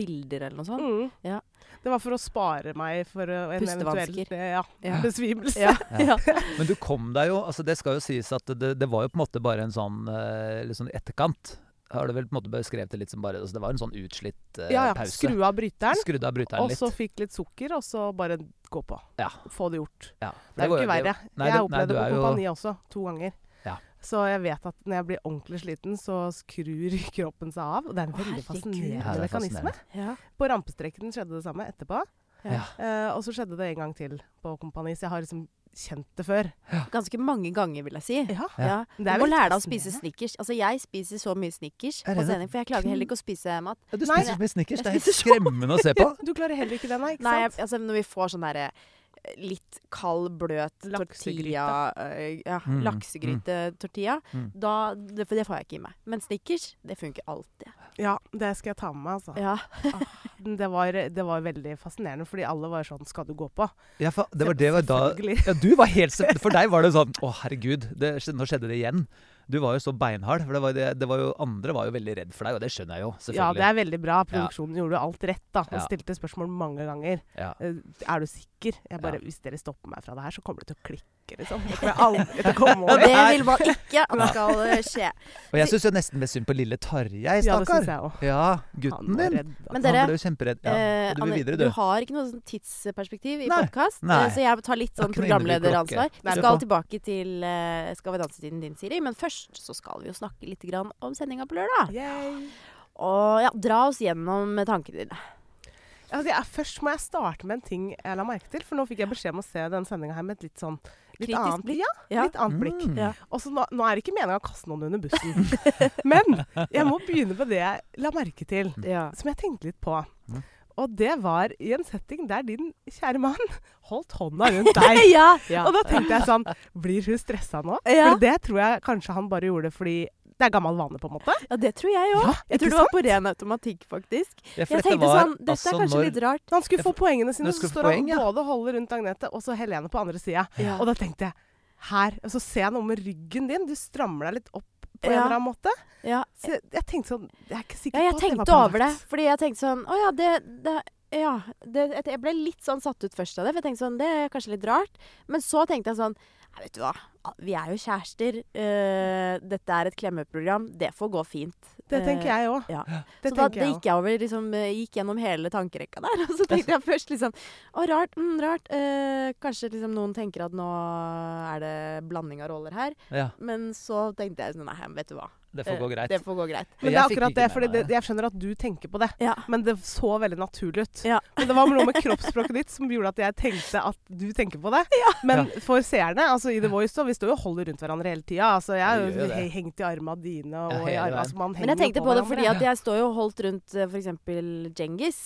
Speaker 1: bilder eller noe sånt.
Speaker 4: Mm.
Speaker 1: Ja.
Speaker 4: Det var for å spare meg for uh, en eventuell
Speaker 1: Pustevansker.
Speaker 4: eh, ja,
Speaker 1: Ja.
Speaker 4: besvimelse.
Speaker 1: Ja.
Speaker 2: Ja. Men du kom deg jo altså Det skal jo sies at det, det var jo på en måte bare en sånn eh, litt sånn i etterkant. Har du vel på en måte beskrevet det litt som bare altså Det var en sånn utslitt eh,
Speaker 4: Ja, ja.
Speaker 2: pause.
Speaker 4: Skru av bryteren,
Speaker 2: Skrudd av bryteren
Speaker 4: og
Speaker 2: litt.
Speaker 4: så fikk litt sukker, og så bare gå på.
Speaker 2: Ja.
Speaker 4: Få det gjort.
Speaker 2: Ja,
Speaker 4: Det er jo
Speaker 2: var
Speaker 4: ikke
Speaker 2: nei,
Speaker 4: verre. jeg
Speaker 2: det- nei,
Speaker 4: opplevde
Speaker 2: du
Speaker 4: det
Speaker 2: er
Speaker 4: på
Speaker 2: jo-
Speaker 4: kompani også, to ganger.
Speaker 2: Ja.
Speaker 4: Så jeg vet at når jeg blir ordentlig sliten, så skrur kroppen seg av. Og det er en
Speaker 1: Å,
Speaker 4: veldig
Speaker 1: herregud.
Speaker 4: fascinerende
Speaker 2: Ja, det er
Speaker 4: mekanisme.
Speaker 1: Ja.
Speaker 4: På rampestreken skjedde det samme etterpå.
Speaker 2: Ja.
Speaker 4: Eh, og så skjedde det en gang til på kompani, så jeg har liksom kjent det før.
Speaker 1: Ganske mange ganger, vil jeg si.
Speaker 4: Ja.
Speaker 1: Ja.
Speaker 4: Det er
Speaker 1: du må
Speaker 4: veldig
Speaker 1: lære deg å spise
Speaker 4: fascinerende.
Speaker 1: snickers. Altså, jeg spiser så mye snickers
Speaker 2: Er
Speaker 1: på
Speaker 2: det det?
Speaker 1: sending, for jeg klager heller ikke å spise mat.
Speaker 2: Ja, du
Speaker 4: Nei,
Speaker 2: spiser så mye snickers.
Speaker 1: jeg
Speaker 2: Det er helt
Speaker 1: spiser så-
Speaker 2: skremmende å se på.
Speaker 4: Du klarer heller ikke det, nei? Ikke
Speaker 1: Nei, jeg,
Speaker 4: sant?
Speaker 1: altså, når vi får sånn derre eh, litt kald, bløt
Speaker 4: Laksegryte.
Speaker 1: tortilla eh, ja,
Speaker 2: Mm,
Speaker 1: Laksegryte-tortilla.
Speaker 2: mm.
Speaker 1: Da, det, for det får jeg ikke i meg. Men snickers, det funker alltid.
Speaker 4: Ja, det skal jeg ta med meg, altså.
Speaker 1: Ja.
Speaker 4: Det, var, det var veldig fascinerende, fordi alle var sånn Skal du gå på?
Speaker 2: Ja, fa det var det var da
Speaker 4: Selvfølgelig.
Speaker 2: ja, du var helt, se- For deg var det sånn Å, herregud, det, skj- nå skjedde det igjen. Du var jo så beinhard. For det var, det, det var jo, andre var jo veldig redd for deg, og det skjønner jeg jo.
Speaker 4: Ja, det
Speaker 2: Selvfølgelig.
Speaker 4: er veldig bra. Produksjonen gjorde alt rett, da. Og
Speaker 2: Ja.
Speaker 4: stilte spørsmål mange ganger.
Speaker 2: Ja.
Speaker 4: Eh, Er du sikker? Jeg bare,
Speaker 2: Ja.
Speaker 4: Hvis dere stopper meg fra det her, så kommer det til å klikke, liksom. Det kommer jeg aldri til å komme
Speaker 1: Og
Speaker 4: over.
Speaker 1: det vil man ikke at skal eh, skje.
Speaker 2: Og jeg syns jo nesten mest synd på lille Tarjei,
Speaker 4: Ja, det syns
Speaker 2: stakkar.
Speaker 4: jeg òg.
Speaker 2: Ja,
Speaker 4: Han
Speaker 2: gutten
Speaker 4: var
Speaker 2: din.
Speaker 4: redd. da.
Speaker 1: Men
Speaker 2: Han
Speaker 1: dere
Speaker 2: ble jo kjemperedd. Ja.
Speaker 1: Eh,
Speaker 2: og du vil
Speaker 1: Anne,
Speaker 2: videre, du.
Speaker 1: har ikke noe sånn tidsperspektiv i
Speaker 2: Nei.
Speaker 1: podkast,
Speaker 2: Nei.
Speaker 1: så jeg tar litt
Speaker 2: Da
Speaker 1: sånn
Speaker 2: kunne jeg innebygge
Speaker 1: programlederansvar.
Speaker 2: klokke.
Speaker 1: Vi
Speaker 2: Nei.
Speaker 1: skal tilbake til eh, Skal vi danse-tiden din, Siri, men først så skal vi jo snakke litt grann om sendinga på lørdag.
Speaker 4: Yay.
Speaker 1: Og ja, dra oss gjennom tankene dine.
Speaker 4: Altså, jeg, først må jeg starte med en ting jeg la merke til, for nå fikk jeg beskjed om å se den sendinga her med et litt sånn litt
Speaker 1: Kritisk
Speaker 4: annet,
Speaker 1: blikk.
Speaker 4: Ja,
Speaker 1: Ja.
Speaker 4: litt annet blikk.
Speaker 2: Mm.
Speaker 1: Ja.
Speaker 4: Og så nå, nå er det ikke meninga å kaste noen under bussen, men jeg må begynne på det jeg la merke til,
Speaker 2: Mm.
Speaker 1: Ja.
Speaker 4: som jeg tenkte litt på. Og det var i en setting der din kjære mann holdt hånda rundt deg.
Speaker 1: Ja.
Speaker 4: Og da tenkte jeg sånn Blir hun stressa nå?
Speaker 1: Ja.
Speaker 4: For det tror jeg kanskje han bare gjorde fordi det er gammel vane, på en måte.
Speaker 1: ja, det tror jeg òg.
Speaker 4: Ja,
Speaker 1: jeg
Speaker 4: ikke
Speaker 1: tror det var på ren automatikk, faktisk.
Speaker 2: Ja, for
Speaker 1: Jeg
Speaker 2: dette
Speaker 1: tenkte
Speaker 2: var
Speaker 1: sånn Dette
Speaker 2: altså
Speaker 1: er kanskje
Speaker 2: når-
Speaker 1: litt rart.
Speaker 4: Når han skulle få poengene sine,
Speaker 2: Når
Speaker 4: så
Speaker 2: skulle få
Speaker 4: står han
Speaker 2: poeng, ja.
Speaker 4: både og holder rundt Agnete og så Helene på andre sida.
Speaker 1: Ja.
Speaker 4: Og da tenkte jeg Her. Og så ser jeg noe med ryggen din. Du strammer deg litt opp på en
Speaker 1: Ja.
Speaker 4: eller annen måte.
Speaker 1: Ja,
Speaker 4: Så jeg, jeg tenkte sånn Jeg er ikke sikker
Speaker 1: Ja, jeg
Speaker 4: på at
Speaker 1: tenkte
Speaker 4: det var
Speaker 1: over det. Fordi jeg tenkte sånn Å ja, det, det ja, det, jeg- jeg ble litt sånn satt ut først av det, for jeg tenkte sånn, det er kanskje litt rart. Men så tenkte jeg sånn, nei, vet du hva, vi er jo kjærester, eh, dette er et klemmeprogram, det får gå fint.
Speaker 4: Det tenker jeg òg.
Speaker 1: Ja.
Speaker 4: Det
Speaker 1: så da
Speaker 4: tenker
Speaker 1: det
Speaker 4: jeg
Speaker 1: gikk jeg over, liksom, eh, gikk gjennom hele tankerekka der, og så tenkte jeg først liksom, å rart, mm, rart, eh, kanskje liksom noen tenker at nå er det blanding av roller her,
Speaker 2: Ja,
Speaker 1: men så tenkte jeg sånn, nei, vet du hva,
Speaker 2: det får
Speaker 1: Eh,
Speaker 2: gå greit.
Speaker 1: det får gå greit.
Speaker 2: Jeg
Speaker 4: Men det er
Speaker 2: fikk
Speaker 4: akkurat
Speaker 2: ikke
Speaker 4: det,
Speaker 2: med
Speaker 4: fordi
Speaker 2: meg
Speaker 4: det,
Speaker 2: det.
Speaker 4: jeg skjønner at du tenker på det.
Speaker 1: Ja,
Speaker 4: Men det så veldig naturlig ut.
Speaker 1: Ja.
Speaker 4: Men det var noe med kroppsspråket ditt som gjorde at jeg tenkte at du tenker på det. Men for seerne, altså i The Voice, da, vi står jo og holder rundt hverandre hele tida. Altså,
Speaker 2: Vi
Speaker 4: jeg
Speaker 2: gjør jo
Speaker 4: har jo
Speaker 2: det.
Speaker 4: hengt i armene dine og
Speaker 2: Ja,
Speaker 4: i
Speaker 2: hele
Speaker 4: armene
Speaker 2: veien.
Speaker 4: altså, man
Speaker 1: Men jeg
Speaker 4: henger jo
Speaker 1: tenkte på det
Speaker 4: hverandre.
Speaker 1: fordi at jeg står jo og holdt rundt f.eks. Djengis.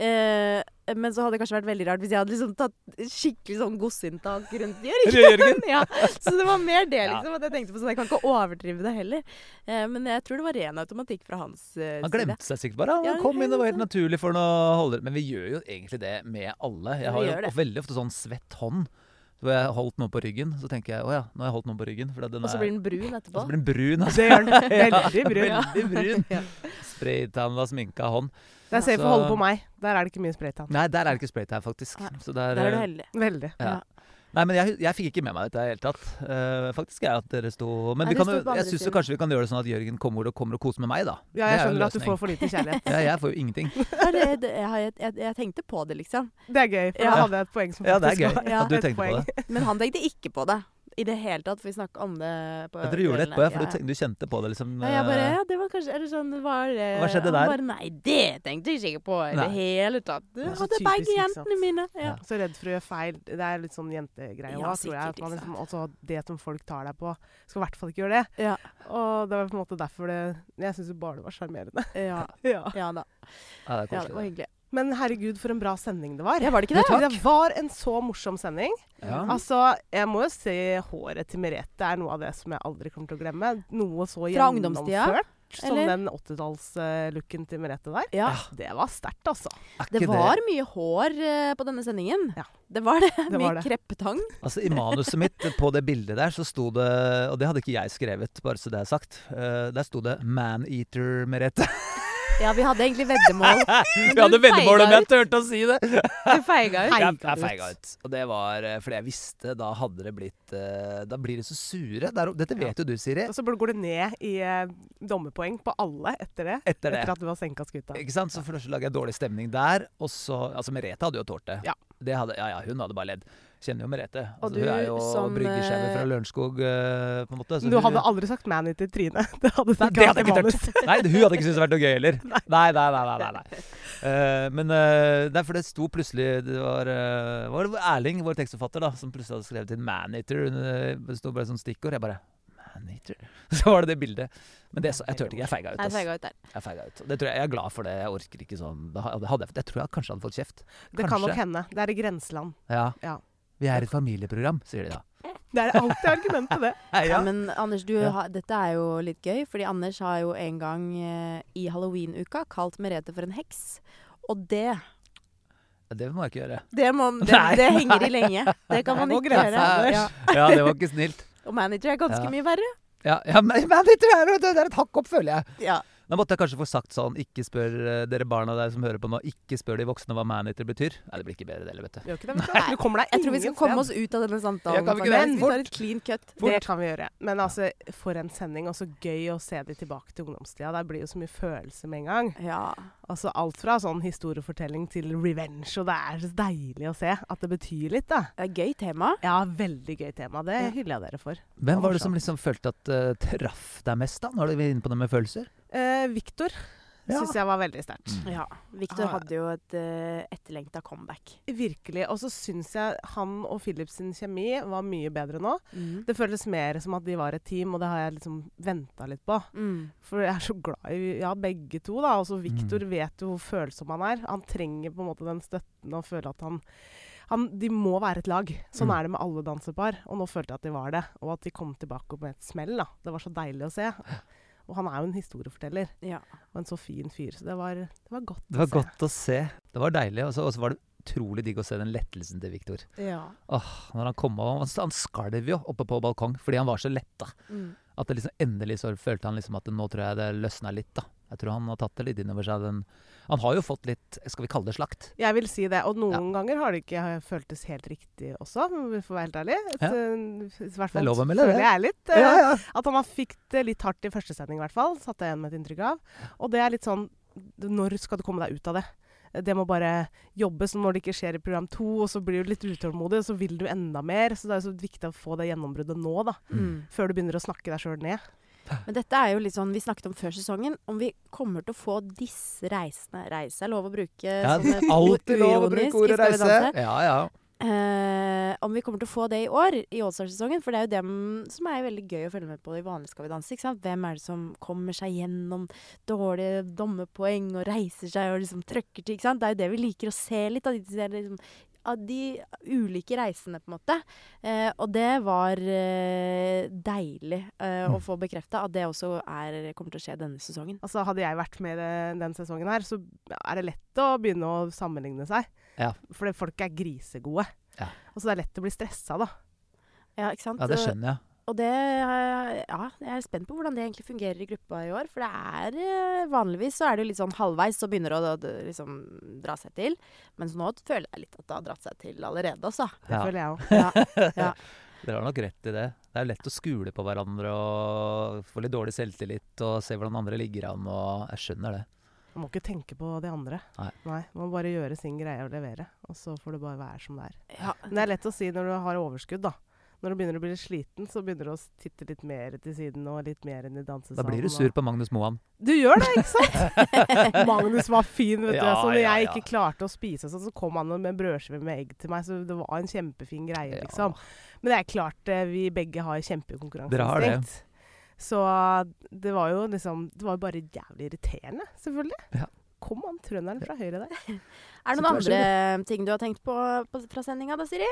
Speaker 1: Eh, men så hadde det kanskje vært veldig rart hvis jeg hadde liksom tatt skikkelig sånn godsinntak rundt Jørgen.
Speaker 2: Jørgen?
Speaker 1: ja, så det var mer det,
Speaker 2: Ja.
Speaker 1: liksom. At jeg tenkte på sånn, Jeg kan ikke overdrive det heller. Eh, men jeg tror det var ren automatikk fra hans eh,
Speaker 2: Han
Speaker 1: side.
Speaker 2: glemte seg sikkert bare.
Speaker 1: Ja,
Speaker 2: Han kom inn, det var helt naturlig for han å holde Men vi gjør jo egentlig det med alle.
Speaker 1: Ja,
Speaker 2: Jeg har
Speaker 1: vi
Speaker 2: jo
Speaker 1: gjør det.
Speaker 2: veldig ofte sånn svett hånd. Hvor jeg har holdt noe på ryggen, så tenker jeg å ja, nå har jeg holdt noe på ryggen. For den
Speaker 1: Og så
Speaker 2: er-
Speaker 1: blir den brun
Speaker 2: og så
Speaker 1: etterpå.
Speaker 2: blir den brun. Altså.
Speaker 4: Det gjør den. Veldig brun.
Speaker 2: Ja, veldig brun.
Speaker 1: Ja.
Speaker 2: Spraytanva, sminka hånd.
Speaker 4: Det er safe
Speaker 2: Så-
Speaker 4: å holde på meg. Der er det ikke mye spraytan.
Speaker 2: Nei, der er det ikke spraytan, faktisk.
Speaker 1: Nei,
Speaker 2: Så der,
Speaker 1: Der er du
Speaker 2: eh,
Speaker 1: heldig.
Speaker 4: Veldig.
Speaker 2: Ja.
Speaker 1: Ja.
Speaker 2: Nei, men jeg, jeg fikk ikke med meg dette i det hele tatt. Eh, faktisk er at dere sto Men
Speaker 1: Nei, dere
Speaker 2: vi kan,
Speaker 1: sto på
Speaker 2: jo- jeg
Speaker 1: andre
Speaker 2: syns jo
Speaker 1: siden.
Speaker 2: kanskje vi kan gjøre det sånn at Jørgen kommer og, kommer og koser med meg, da. Det er jo
Speaker 4: Ja, jeg
Speaker 2: en
Speaker 4: skjønner at du
Speaker 2: løsning.
Speaker 4: får for lite kjærlighet.
Speaker 2: ja, Jeg får jo ingenting.
Speaker 1: Ja, det, det, jeg, har- jeg, jeg tenkte på det, liksom.
Speaker 4: Det er gøy, for da
Speaker 1: Ja.
Speaker 4: hadde jeg et poeng som
Speaker 2: Ja, det er
Speaker 4: faktisk
Speaker 2: gøy
Speaker 1: Ja,
Speaker 2: at du
Speaker 4: et
Speaker 2: tenkte på
Speaker 4: poeng.
Speaker 2: det.
Speaker 1: Men han tenkte ikke på det i det hele tatt, for vi snakka om det på
Speaker 2: Ja, dere gjorde det
Speaker 1: kvelden
Speaker 2: etterpå,
Speaker 1: her.
Speaker 2: ja, for du, tenk- du kjente på det liksom
Speaker 1: Nei, jeg bare,
Speaker 2: eh,
Speaker 1: ja, det var kanskje, eller sånn, var det,
Speaker 2: Hva skjedde der?
Speaker 1: Han bare, nei, det tenkte jeg ikke på i det
Speaker 2: Nei.
Speaker 1: hele tatt. Du
Speaker 4: er så
Speaker 1: hadde
Speaker 4: typisk,
Speaker 1: begge
Speaker 4: ikke sant?
Speaker 1: jentene mine. Ja.
Speaker 2: Ja.
Speaker 4: Så redd for å gjøre feil. Det er litt sånn jentegreie òg,
Speaker 1: Ja,
Speaker 4: tror jeg.
Speaker 1: sikkert,
Speaker 4: At man
Speaker 1: ikke
Speaker 4: liksom, altså, det som folk tar deg på, skal i hvert fall ikke gjøre det.
Speaker 1: Ja.
Speaker 4: Og det var på en måte derfor det Jeg syns jo bare det var sjarmerende.
Speaker 1: Ja.
Speaker 4: Ja.
Speaker 1: ja da.
Speaker 2: Ja, det er
Speaker 1: Ja, det var
Speaker 2: koselig.
Speaker 1: hyggelig.
Speaker 4: Men herregud, for en bra sending det var.
Speaker 1: Ja, var det ikke
Speaker 4: Det,
Speaker 1: det?
Speaker 4: var en så morsom sending.
Speaker 2: Ja.
Speaker 4: Altså, jeg må jo si håret til Merete er noe av det som jeg aldri kommer til å glemme. Noe så
Speaker 1: Fra ungdomstida,
Speaker 4: gjennomført som
Speaker 1: eller?
Speaker 4: den 80-tallslooken til Merete der.
Speaker 1: Ja.
Speaker 4: Det var sterkt, altså.
Speaker 2: Er ikke
Speaker 1: Det var mye hår eh, på denne sendingen.
Speaker 4: Ja.
Speaker 1: Det var det.
Speaker 4: Det var
Speaker 1: mye
Speaker 4: det.
Speaker 1: kreppetang.
Speaker 2: Altså, I manuset mitt på det bildet der så sto det Og det hadde ikke jeg skrevet, bare så det er sagt. eh, der sto det 'Maneater Merete'.
Speaker 1: Ja, vi hadde egentlig veddemål. Men
Speaker 2: Vi hadde
Speaker 1: du
Speaker 2: veddemål om
Speaker 1: feiga
Speaker 2: jeg turte å si det!
Speaker 1: ut. Du feiga ut.
Speaker 2: Jeg, jeg feiga ut. Og det var eh, fordi jeg visste da hadde det blitt eh, Da blir de så sure. Der, dette vet jo du, Siri.
Speaker 4: Eh, Og så går det ned i eh, dommerpoeng på alle etter det.
Speaker 2: Etter det.
Speaker 4: Etter at du har senka skuta.
Speaker 2: Ikke sant? Så for det første lager jeg dårlig stemning der. Og så Altså, Merete hadde jo tålt det.
Speaker 4: Ja.
Speaker 2: Det hadde, ja, ja, hun hadde bare ledd. Kjenner jo Merete. Altså,
Speaker 1: Og du
Speaker 2: hun er jo
Speaker 1: som,
Speaker 2: bryggesjau
Speaker 1: eh,
Speaker 2: fra Lørenskog, eh, på en måte. så
Speaker 4: Du
Speaker 2: hun-
Speaker 4: hadde aldri sagt 'man' til Trine. Det hadde du
Speaker 2: Nei,
Speaker 4: ikke
Speaker 2: det
Speaker 4: hatt
Speaker 2: hadde jeg
Speaker 4: i
Speaker 2: ikke
Speaker 4: manus.
Speaker 2: tørt. Nei, hun hadde ikke syntes det vært noe gøy heller. Nei, nei, nei. nei, nei, nei. Eh, men eh, nei, for det sto plutselig Det var, eh, var det Erling, vår tekstforfatter, da, som plutselig hadde skrevet inn 'Maneater'. Hun, eh, Det sto bare som stikkord. Jeg bare Maneater. Så var det det bildet. Men det, så, jeg turte ikke. Jeg feiga ut.
Speaker 1: Nei,
Speaker 2: ass.
Speaker 1: jeg feiga ut der.
Speaker 2: Jeg, feiga ut. Det tror jeg, jeg er glad for det. Jeg orker ikke sånn. Da hadde- hadde jeg, jeg tror jeg kanskje hadde fått kjeft.
Speaker 4: Det kan nok
Speaker 2: Kanskje.
Speaker 4: hende. Det er i grenseland.
Speaker 2: Ja.
Speaker 4: Ja.
Speaker 2: Vi er et familieprogram, sier de da.
Speaker 4: Det er alltid argumentet, det.
Speaker 1: Ja, men Anders, du,
Speaker 2: Ja.
Speaker 1: har- dette er jo litt gøy, fordi Anders har jo en gang eh, i halloween-uka kalt Merete for en heks. Og det
Speaker 2: Det må jeg ikke gjøre.
Speaker 1: Det, må, det,
Speaker 2: Nei.
Speaker 1: det henger i lenge. Det kan
Speaker 4: Nei,
Speaker 1: man
Speaker 4: nå
Speaker 1: ikke
Speaker 4: grenser
Speaker 1: gjøre.
Speaker 4: jeg.
Speaker 1: Ja.
Speaker 2: Ja, det var ikke snilt.
Speaker 1: Og manager er ganske
Speaker 2: Ja.
Speaker 1: mye verre.
Speaker 2: Ja, ja men, men det tror jeg- det er et hakk opp, føler jeg.
Speaker 1: Ja.
Speaker 2: Da måtte jeg kanskje få sagt sånn Ikke spør eh, dere barna der som hører på nå, ikke spør de voksne hva maneater betyr. Nei, det blir ikke bedre det heller, vet du.
Speaker 4: Gjør ikke det, vet du. Du kommer deg
Speaker 1: Jeg tror vi skal
Speaker 4: ingen
Speaker 1: komme
Speaker 4: sted.
Speaker 1: oss ut av denne
Speaker 2: Ja,
Speaker 1: samtalen.
Speaker 2: kan vi ikke
Speaker 1: faktisk.
Speaker 2: det?
Speaker 1: vi tar et clean cut.
Speaker 4: Det kan vi gjøre. Men altså, for en sending. Og så gøy å se de tilbake til ungdomstida. Der blir jo så mye følelser med en gang.
Speaker 1: Ja.
Speaker 4: Altså alt fra sånn historiefortelling til revenge. Og det er så deilig å se at det betyr litt, da.
Speaker 1: Det er et gøy tema.
Speaker 4: Ja, veldig gøy tema. Det
Speaker 1: Ja.
Speaker 4: hyller jeg dere for.
Speaker 2: Hvem eh, var det som liksom følte at uh, traff deg mest, da? Nå er vi inne på det med følelser.
Speaker 4: Eh, Viktor
Speaker 2: Ja.
Speaker 4: Syns jeg var veldig sterkt.
Speaker 2: Mm.
Speaker 1: Ja. Victor
Speaker 4: Ah.
Speaker 1: hadde jo et uh, etterlengta comeback.
Speaker 4: Virkelig. Og så syns jeg han og Philips sin kjemi var mye bedre nå.
Speaker 2: Mm.
Speaker 4: Det føles mer som at de var et team, og det har jeg liksom venta litt på.
Speaker 1: Mm.
Speaker 4: For jeg er så glad i ja, begge to, da. Også Viktor
Speaker 2: Mm.
Speaker 4: vet jo hvor følsom han er. Han trenger på en måte den støtten og føler at han, han De må være et lag. Sånn
Speaker 2: Mm.
Speaker 4: er det med alle dansepar. Og nå følte jeg at de var det. Og at de kom tilbake med et smell. da. Det var så deilig å se. Og han er jo en historieforteller.
Speaker 1: Ja.
Speaker 4: Og en så fin fyr. Så det var, det var godt
Speaker 2: Det var
Speaker 4: å se.
Speaker 2: godt å se. Det var deilig. Og så og så var det utrolig digg å se den lettelsen til Viktor.
Speaker 4: Ja.
Speaker 2: Når han kom av, han- han skalv jo oppe på balkong fordi han var så letta.
Speaker 1: Mm.
Speaker 2: At det liksom endelig så følte han liksom at nå tror jeg det løsna litt, da. Jeg tror han har tatt det litt innover seg. Den, han har jo fått litt, skal vi kalle det slakt?
Speaker 4: Jeg vil si det. Og noen ganger har det ikke føltes helt riktig også, om vi får være helt ærlig. Et,
Speaker 2: Ja.
Speaker 4: eh, I hvert
Speaker 2: Det er
Speaker 4: fall
Speaker 2: lov å melde
Speaker 4: føler
Speaker 2: det.
Speaker 4: jeg litt. eh,
Speaker 2: Ja, ja.
Speaker 4: At han har fikk det litt hardt i første sending, i hvert fall. Satte jeg igjen med et inntrykk av. Og det er litt sånn Når skal du komme deg ut av det? Det må bare jobbes. og Når det ikke skjer i program to, og så blir du litt utålmodig, og så vil du enda mer. Så det er jo så viktig å få det gjennombruddet nå, da.
Speaker 1: Mm.
Speaker 4: Før du begynner å snakke deg sjøl ned.
Speaker 1: Men dette er jo litt sånn vi snakket om før sesongen, om vi kommer til å få disse reisene. Reise er lov å bruke.
Speaker 2: Ja,
Speaker 4: sånn
Speaker 1: som et
Speaker 2: alltid
Speaker 1: ord
Speaker 2: lov å
Speaker 1: uironisk
Speaker 2: bruke
Speaker 1: i Skal
Speaker 2: ordet
Speaker 1: vi
Speaker 2: reise.
Speaker 1: danse.
Speaker 2: Ja, ja.
Speaker 1: Eh, om vi kommer til å få det i år, i Allstar-sesongen. For det er jo dem som er veldig gøy å følge med på i vanlig Skal vi danse. ikke sant? Hvem er det som kommer seg gjennom dårlige dommerpoeng og reiser seg og liksom trøkker til? ikke sant? Det er jo det vi liker å se litt av de, de, der liksom, av de ulike reisene, på en måte. Eh, og det var eh, deilig eh,
Speaker 2: Mm.
Speaker 1: å få bekrefta at det også er, kommer til å skje denne sesongen.
Speaker 4: Altså, hadde jeg vært med i det- den sesongen her, så er det lett å begynne å sammenligne seg.
Speaker 2: Ja.
Speaker 4: For folk er grisegode.
Speaker 2: Ja.
Speaker 4: Og så det er lett å bli stressa, da.
Speaker 1: Ja, ikke sant?
Speaker 2: ja, det skjønner jeg.
Speaker 1: Og det eh, Ja, jeg er spent på hvordan det egentlig fungerer i gruppa i år. For det er eh, vanligvis så er det jo litt sånn halvveis så begynner det å det- det liksom dra seg til. Mens nå føler jeg litt at det har dratt seg til allerede, altså.
Speaker 4: Det
Speaker 2: Ja.
Speaker 4: føler jeg òg.
Speaker 1: Ja.
Speaker 2: Dere har nok rett i det. Det er lett å skule på hverandre og få litt dårlig selvtillit og se hvordan andre ligger an. og Jeg skjønner det.
Speaker 4: Man må ikke tenke på de andre.
Speaker 2: Nei.
Speaker 4: Man må bare gjøre sin greie og levere. Og så får det bare være som det er.
Speaker 1: ja.
Speaker 4: Men det er lett å si når du har overskudd, da. Når du begynner å bli litt sliten, så begynner du å titte litt mer til siden og litt mer inn i dansesalen.
Speaker 2: Da blir du
Speaker 4: og-
Speaker 2: sur på Magnus Moan.
Speaker 4: Du gjør det, ikke sant? Magnus var fin, vet du.
Speaker 2: Ja,
Speaker 4: så når
Speaker 2: ja,
Speaker 4: jeg
Speaker 2: ja.
Speaker 4: ikke klarte å spise, sånn, så kom han med en brødskive med egg til meg. Så det var en kjempefin greie,
Speaker 2: Ja.
Speaker 4: liksom. Men det er klart eh, vi begge
Speaker 2: Dere
Speaker 4: har
Speaker 2: har det.
Speaker 4: kjempekonkurranseinstinkt. Så det var jo liksom Det var jo bare jævlig irriterende, selvfølgelig.
Speaker 2: Ja.
Speaker 4: Kom han trønderen fra høyre der.
Speaker 1: Er det noen andre ting du har tenkt på, på fra sendinga da, Siri?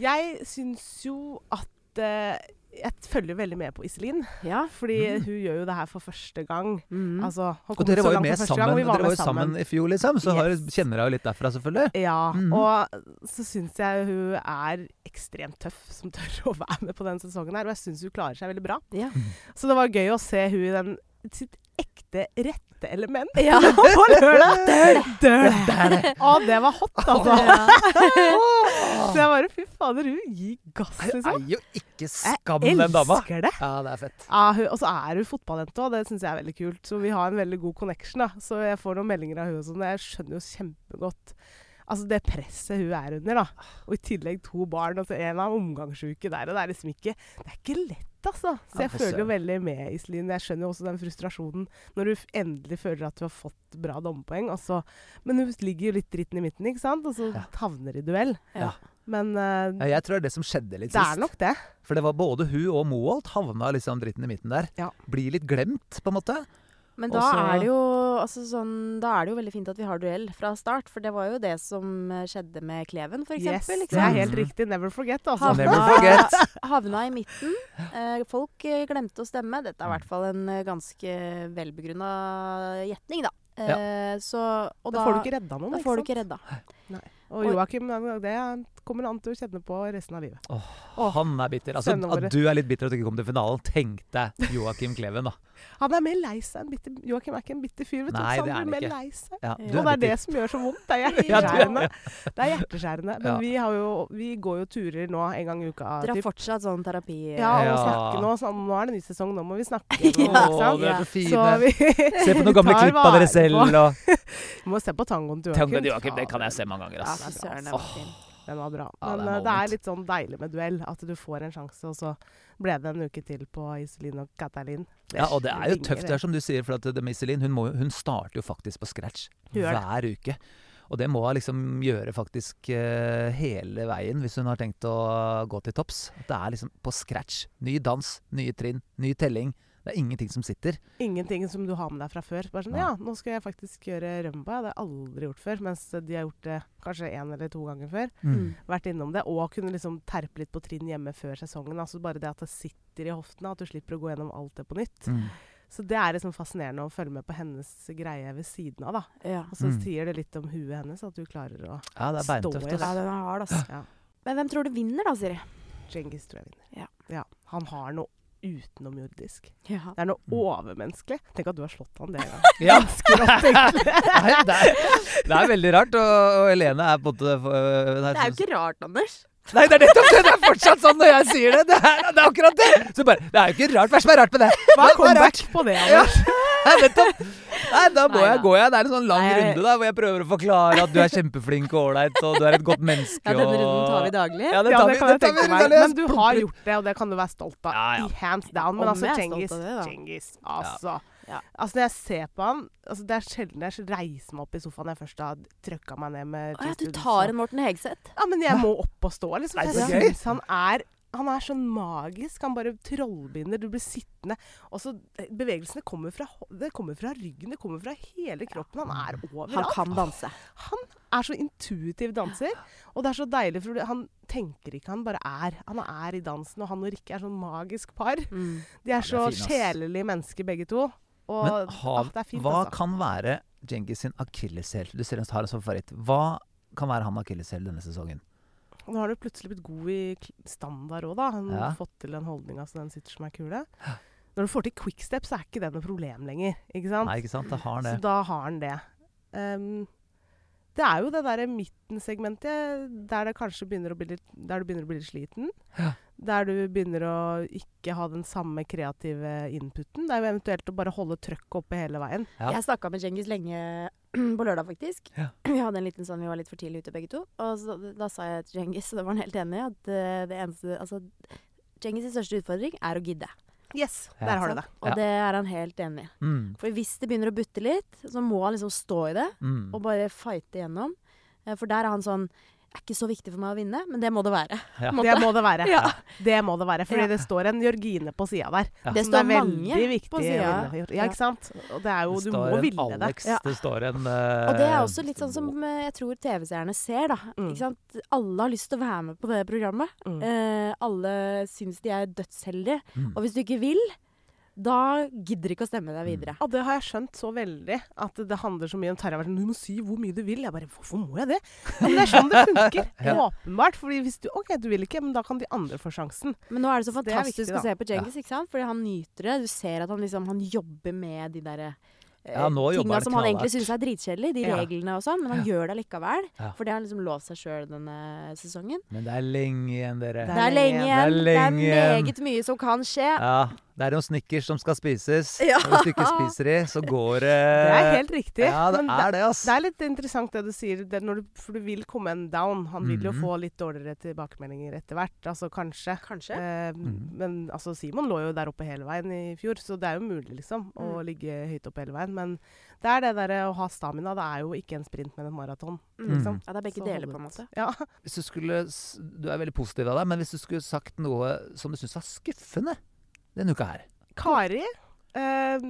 Speaker 4: Jeg syns jo at eh, Jeg følger veldig med på Iselin.
Speaker 1: Ja.
Speaker 4: Fordi hun gjør jo det her for første gang.
Speaker 1: Mm.
Speaker 4: Altså,
Speaker 2: Mm.
Speaker 4: han
Speaker 2: Og
Speaker 4: kom
Speaker 2: dere
Speaker 4: så
Speaker 2: var jo
Speaker 4: langt
Speaker 2: med
Speaker 4: for første
Speaker 2: sammen,
Speaker 4: gang, og vi
Speaker 2: dere var jo sammen i fjor, liksom, så har-
Speaker 4: Yes.
Speaker 2: kjenner dere jo litt derfra, selvfølgelig.
Speaker 4: Ja,
Speaker 2: Mhm.
Speaker 4: og så syns jeg hun er ekstremt tøff som tør å være med på den sesongen her. Og jeg syns hun klarer seg veldig bra.
Speaker 1: Ja.
Speaker 4: Så det var gøy å se hun i den, sitt ekte rette element.
Speaker 1: Ja.
Speaker 4: På lørdag! Døl! Å, det var hot, altså. Så jeg bare Fy fader, hun gir gass,
Speaker 2: Det
Speaker 4: liksom.
Speaker 2: er jo ikke skam,
Speaker 4: Jeg
Speaker 2: den dama.
Speaker 4: elsker det.
Speaker 2: Ja, det er fett.
Speaker 4: Ja, hun, og så er hun fotballjente òg, det syns jeg er veldig kult. Så vi har en veldig god connection, da. Så jeg får noen meldinger av hun og sånn. og Jeg skjønner jo kjempegodt Altså det presset hun er under, da. Og i tillegg to barn. Altså en av omgangsuke der. Og det er liksom ikke Det er ikke lett, altså. Så
Speaker 2: Ja,
Speaker 4: jeg
Speaker 2: for
Speaker 4: føler jo
Speaker 2: søren.
Speaker 4: veldig med Iselin. Jeg skjønner jo også den frustrasjonen når du f- endelig føler at du har fått bra dommepoeng, og så Men hun ligger jo litt dritten i midten, ikke sant? Og så
Speaker 2: Ja.
Speaker 4: havner i duell.
Speaker 2: Ja.
Speaker 4: Men eh,
Speaker 2: Ja, jeg tror det er det som skjedde litt
Speaker 4: det
Speaker 2: sist.
Speaker 4: er nok det.
Speaker 2: For det var både hun og Moholt havna liksom dritten i midten der.
Speaker 4: Ja.
Speaker 2: Blir litt glemt, på en måte.
Speaker 1: Men da
Speaker 2: Også-
Speaker 1: er, det jo, altså sånn, da er det jo veldig fint at vi har duell fra start, for det var jo det som eh, skjedde med Kleven, f.eks.
Speaker 4: Yes, det
Speaker 2: sant?
Speaker 4: er helt riktig. Never forget, altså.
Speaker 2: Han Never forget.
Speaker 1: havna i midten. Eh, folk eh, glemte å stemme. Dette er i hvert fall en eh, ganske velbegrunna gjetning, da. Eh, så, og
Speaker 4: Da, får du ikke redda noen.
Speaker 1: da
Speaker 4: ikke
Speaker 1: får du
Speaker 4: sant?
Speaker 1: ikke redda.
Speaker 4: Og Joakim, det kommer han til å kjenne på resten av livet. Åh,
Speaker 2: Han er bitter. Altså,
Speaker 4: sønnen vår.
Speaker 2: at du er litt bitter at du ikke kom til finalen. Tenk deg Joakim Kleven, da.
Speaker 4: Han er mer lei seg enn bitter Joakim er ikke en bitter fyr, vet du.
Speaker 2: Nei,
Speaker 4: så
Speaker 2: det er
Speaker 4: han
Speaker 2: han
Speaker 4: blir mer
Speaker 2: ikke.
Speaker 4: lei seg.
Speaker 2: Ja,
Speaker 1: Ja.
Speaker 2: du
Speaker 4: Og det
Speaker 2: er
Speaker 4: er det
Speaker 2: bitter.
Speaker 4: som gjør så vondt. Det er
Speaker 1: Ja,
Speaker 4: hjerteskjærende. Det er hjerteskjærende. Men
Speaker 2: Ja.
Speaker 4: vi, har jo, vi går jo turer nå en gang i uka.
Speaker 1: Dere har
Speaker 4: Typ.
Speaker 1: fortsatt sånn terapi. eh,
Speaker 4: Ja, og
Speaker 2: Ja.
Speaker 4: snakke nå. Sånn, nå er det ny sesong, nå må vi snakke. Nå,
Speaker 1: Ja,
Speaker 4: ikke
Speaker 2: Å,
Speaker 4: sant?
Speaker 2: dere er så
Speaker 4: Så
Speaker 2: fine.
Speaker 4: vi
Speaker 2: Se på noen gamle
Speaker 4: tar
Speaker 2: klipp av
Speaker 4: vare
Speaker 2: dere selv.
Speaker 4: på-
Speaker 2: Og...
Speaker 4: Vi må se på tangoen til
Speaker 2: Tango
Speaker 4: Joakim.
Speaker 2: Joakim, det kan jeg se mange ganger.
Speaker 1: Ja,
Speaker 2: Ass.
Speaker 1: fy søren, det var fint.
Speaker 4: Den var bra.
Speaker 2: Ja,
Speaker 4: Men
Speaker 2: det er
Speaker 4: eh, det
Speaker 2: moment.
Speaker 4: er litt sånn deilig med duell. At du får en sjanse, og så ble det en uke til på Iselin og Katalin.
Speaker 2: Ja, og det er jo
Speaker 4: ringer,
Speaker 2: tøft, det
Speaker 4: det.
Speaker 2: er som du sier, for at det med Iselin hun, må, jo- hun starter jo faktisk på scratch
Speaker 4: Hun gjør det.
Speaker 2: hver uke. Og det må hun liksom gjøre faktisk eh, hele veien hvis hun har tenkt å gå til topps. At Det er liksom på scratch. Ny dans, nye trinn, ny telling. Det er ingenting som sitter.
Speaker 4: Ingenting som du har med deg fra før. Bare sånn,
Speaker 2: Nei.
Speaker 4: ja, nå skal jeg faktisk gjøre rømba. Det har jeg aldri gjort før. Mens de har gjort det kanskje én eller to ganger før.
Speaker 1: Mm.
Speaker 4: Vært innom det. Og kunne liksom terpe litt på trinn hjemme før sesongen. Altså bare det at det sitter i hoftene, at du slipper å gå gjennom alt det på nytt.
Speaker 2: Mm.
Speaker 4: Så det er liksom fascinerende å følge med på hennes greie ved siden av, da.
Speaker 1: Ja.
Speaker 4: Og så
Speaker 2: Mm.
Speaker 4: sier det litt om huet hennes, at du klarer å
Speaker 2: Ja, det er
Speaker 4: Står
Speaker 2: beintøft.
Speaker 4: i
Speaker 2: ass.
Speaker 1: ja, den er hard, altså.
Speaker 4: Ja.
Speaker 1: Men hvem tror du vinner, da, Siri?
Speaker 4: Djengis tror jeg vinner.
Speaker 1: Ja.
Speaker 4: Han har noe utenomjordisk.
Speaker 1: Ja.
Speaker 4: Det er noe
Speaker 2: Mm.
Speaker 4: overmenneskelig. Tenk at du har slått han det en gang.
Speaker 2: Ja.
Speaker 4: Ganske rått, egentlig.
Speaker 2: Nei, det, er, det er veldig rart, og, og Helene er på en måte øh, hun er
Speaker 1: Det er jo
Speaker 2: sånn-
Speaker 1: ikke rart, Anders.
Speaker 2: Nei, det er nettopp det! Det er fortsatt sånn når jeg sier det! Det er, det er akkurat det! Så bare, Det er jo ikke rart. Hva er det som er rart med det?
Speaker 4: Hva
Speaker 2: Men
Speaker 4: er comeback
Speaker 2: rart.
Speaker 4: på det?
Speaker 2: Ja,
Speaker 4: Anders?
Speaker 2: nettopp. Nei, da må
Speaker 1: Nei,
Speaker 2: jeg
Speaker 1: da.
Speaker 2: gå, jeg. Det er en sånn lang
Speaker 1: Nei, jeg-
Speaker 2: runde da, hvor jeg prøver å forklare at du er kjempeflink og ålreit, og du er et godt menneske.
Speaker 1: Ja, denne runden tar vi
Speaker 2: og-
Speaker 1: daglig.
Speaker 2: Ja, det
Speaker 4: Ja,
Speaker 2: tar
Speaker 4: det
Speaker 2: vi.
Speaker 4: kan jeg
Speaker 2: det tar
Speaker 4: tenke
Speaker 2: vi
Speaker 4: meg.
Speaker 2: runden,
Speaker 4: Men du
Speaker 2: Elias.
Speaker 4: har gjort det, og det kan du være stolt av.
Speaker 2: Ja, ja.
Speaker 4: I hands down. Men
Speaker 1: Om
Speaker 4: altså,
Speaker 1: jeg er
Speaker 4: Cengiz
Speaker 1: stolt av det, da.
Speaker 4: Cengiz, altså.
Speaker 1: Ja.
Speaker 4: Altså, Når jeg ser på han altså, Det er sjelden jeg reiser meg opp i sofaen når jeg først har trøkka meg ned
Speaker 1: Å
Speaker 4: med
Speaker 1: ja,
Speaker 4: cheese
Speaker 1: du
Speaker 4: doodles og-
Speaker 1: tar en Morten Hegseth?
Speaker 4: Ja, men jeg må opp og stå, liksom.
Speaker 2: Nei,
Speaker 4: For
Speaker 2: så
Speaker 4: jeg
Speaker 2: gøy.
Speaker 4: syns han er han er sånn magisk. Han bare trollbinder. Du blir sittende. Og så eh, Bevegelsene kommer fra, hå- det kommer fra ryggen, det kommer fra hele kroppen. Han er
Speaker 1: Han
Speaker 4: overalt.
Speaker 1: kan danse.
Speaker 4: Han er så intuitiv danser. Og det er så deilig, for han tenker ikke, han bare er. Han er i dansen, og han og Rikke er sånn magisk par.
Speaker 1: Mm.
Speaker 4: De
Speaker 2: det
Speaker 4: er
Speaker 2: er
Speaker 4: så
Speaker 2: fin, ass.
Speaker 4: sjelelige mennesker, begge to. Og
Speaker 2: Men har,
Speaker 4: ah, det er fint,
Speaker 2: hva
Speaker 4: altså.
Speaker 2: kan være Djengis sin akilleshæl? Du ser han har en sånn favoritt. Hva kan være han akilleshæl denne sesongen?
Speaker 4: Nå har du plutselig blitt god i kl- standard òg, da. Han
Speaker 2: Ja.
Speaker 4: har fått til den holdninga så den sitter som ei kule. Når du får til quickstep, så er ikke det noe problem lenger. Ikke sant?
Speaker 2: Nei, ikke sant? Det har han
Speaker 4: så
Speaker 2: det.
Speaker 4: da har han det. Ehm, det er jo det derre midtensegmentet der det kanskje begynner å bli litt, der du begynner å bli litt sliten.
Speaker 2: Ja.
Speaker 4: Der du begynner å ikke ha den samme kreative inputen. Det er jo eventuelt å bare holde trøkket oppe hele veien.
Speaker 2: Ja.
Speaker 1: Jeg snakka med Djengis lenge på lørdag, faktisk.
Speaker 2: Ja.
Speaker 1: Vi hadde en liten sånn, vi var litt for tidlig ute begge to. Og så, da sa jeg til Djengis, og det var han helt enig i, at eh, det eneste Altså, Djengis' sin største utfordring er å gidde.
Speaker 4: Yes,
Speaker 2: Ja.
Speaker 4: der har du det.
Speaker 1: Og
Speaker 2: Ja.
Speaker 1: det er han helt enig i.
Speaker 2: Mm,
Speaker 1: For hvis det begynner å butte litt, så må han liksom stå i det
Speaker 2: mm.
Speaker 1: og bare fighte igjennom. Eh, For der er han sånn Det er ikke så viktig for meg å vinne, men det må det være.
Speaker 2: Ja.
Speaker 1: Måtte.
Speaker 4: Det må det være.
Speaker 1: Ja.
Speaker 4: Det må det være, fordi
Speaker 1: Ja.
Speaker 4: det står en Jørgine på sida der.
Speaker 2: Ja.
Speaker 1: Det
Speaker 4: som
Speaker 1: står
Speaker 4: er
Speaker 1: mange
Speaker 4: veldig viktig
Speaker 1: på
Speaker 4: å
Speaker 1: sida.
Speaker 4: vinne. Ja, ikke sant? Og det er jo,
Speaker 2: Det
Speaker 4: du
Speaker 2: står
Speaker 4: må
Speaker 2: en
Speaker 4: ville det.
Speaker 2: Alex,
Speaker 1: Ja.
Speaker 2: det står en
Speaker 1: Og det
Speaker 2: Eh,
Speaker 1: er også litt sånn som eh, jeg tror TV-seerne ser, da.
Speaker 4: Mm.
Speaker 1: Ikke sant? Alle har lyst til å være med på det programmet.
Speaker 4: Mm.
Speaker 1: Eh, alle syns de er dødsheldige.
Speaker 2: Mm.
Speaker 1: Og hvis du ikke vil, da gidder de ikke å stemme deg videre.
Speaker 4: Ja, det har jeg skjønt så veldig. At det handler så mye om Terje. har vært sånn, Du må si hvor mye du vil. Jeg bare Hvorfor må jeg det? Ja, men det er sånn det funker. Åpenbart. Fordi hvis du OK, du vil ikke, men da kan de andre få sjansen.
Speaker 1: Men nå er det så
Speaker 4: Så det er
Speaker 1: fantastisk
Speaker 4: viktig,
Speaker 1: å se på Djengis, ikke sant? Fordi han nyter det. Du ser at han liksom Han jobber med de derre eh,
Speaker 2: Ja, nå jobber
Speaker 1: tinga
Speaker 2: han
Speaker 1: som han egentlig
Speaker 2: knallhardt.
Speaker 1: syns er dritkjedelig, de
Speaker 4: Ja.
Speaker 1: reglene og sånn, men han gjør det likevel.
Speaker 2: Ja.
Speaker 1: For det har han liksom lovt seg sjøl denne sesongen.
Speaker 2: Men det er lenge igjen, dere.
Speaker 1: Det er lenge igjen. Det er
Speaker 2: lenge igjen.
Speaker 1: meget mye som kan skje.
Speaker 2: Ja, det er noen snickers som skal spises.
Speaker 1: Ja.
Speaker 2: Når du ikke spiser de, så går det
Speaker 4: Det er helt riktig.
Speaker 2: Eh, Ja, det
Speaker 4: men
Speaker 2: er det, ass.
Speaker 4: det er litt interessant det du sier, det når du, for du vil komme en down. Han vil jo
Speaker 2: Mhm.
Speaker 4: få litt dårligere tilbakemeldinger etter hvert, altså kanskje.
Speaker 1: Kanskje.
Speaker 4: Eh,
Speaker 2: Mhm.
Speaker 4: Men altså, Simon lå jo der oppe hele veien i fjor, så det er jo mulig liksom å
Speaker 1: Mm.
Speaker 4: ligge høyt oppe hele veien. Men det er det derre å ha stamina. Det er jo ikke en sprint, men en maraton.
Speaker 1: Mm.
Speaker 4: Liksom.
Speaker 1: Ja, det er begge
Speaker 4: Så
Speaker 1: deler,
Speaker 4: holde
Speaker 1: på en
Speaker 4: ut.
Speaker 1: måte.
Speaker 4: Ja.
Speaker 2: Hvis du skulle s- Du er veldig positiv av deg, men hvis du skulle sagt noe som du syns var skuffende denne uka her
Speaker 4: Kari eh,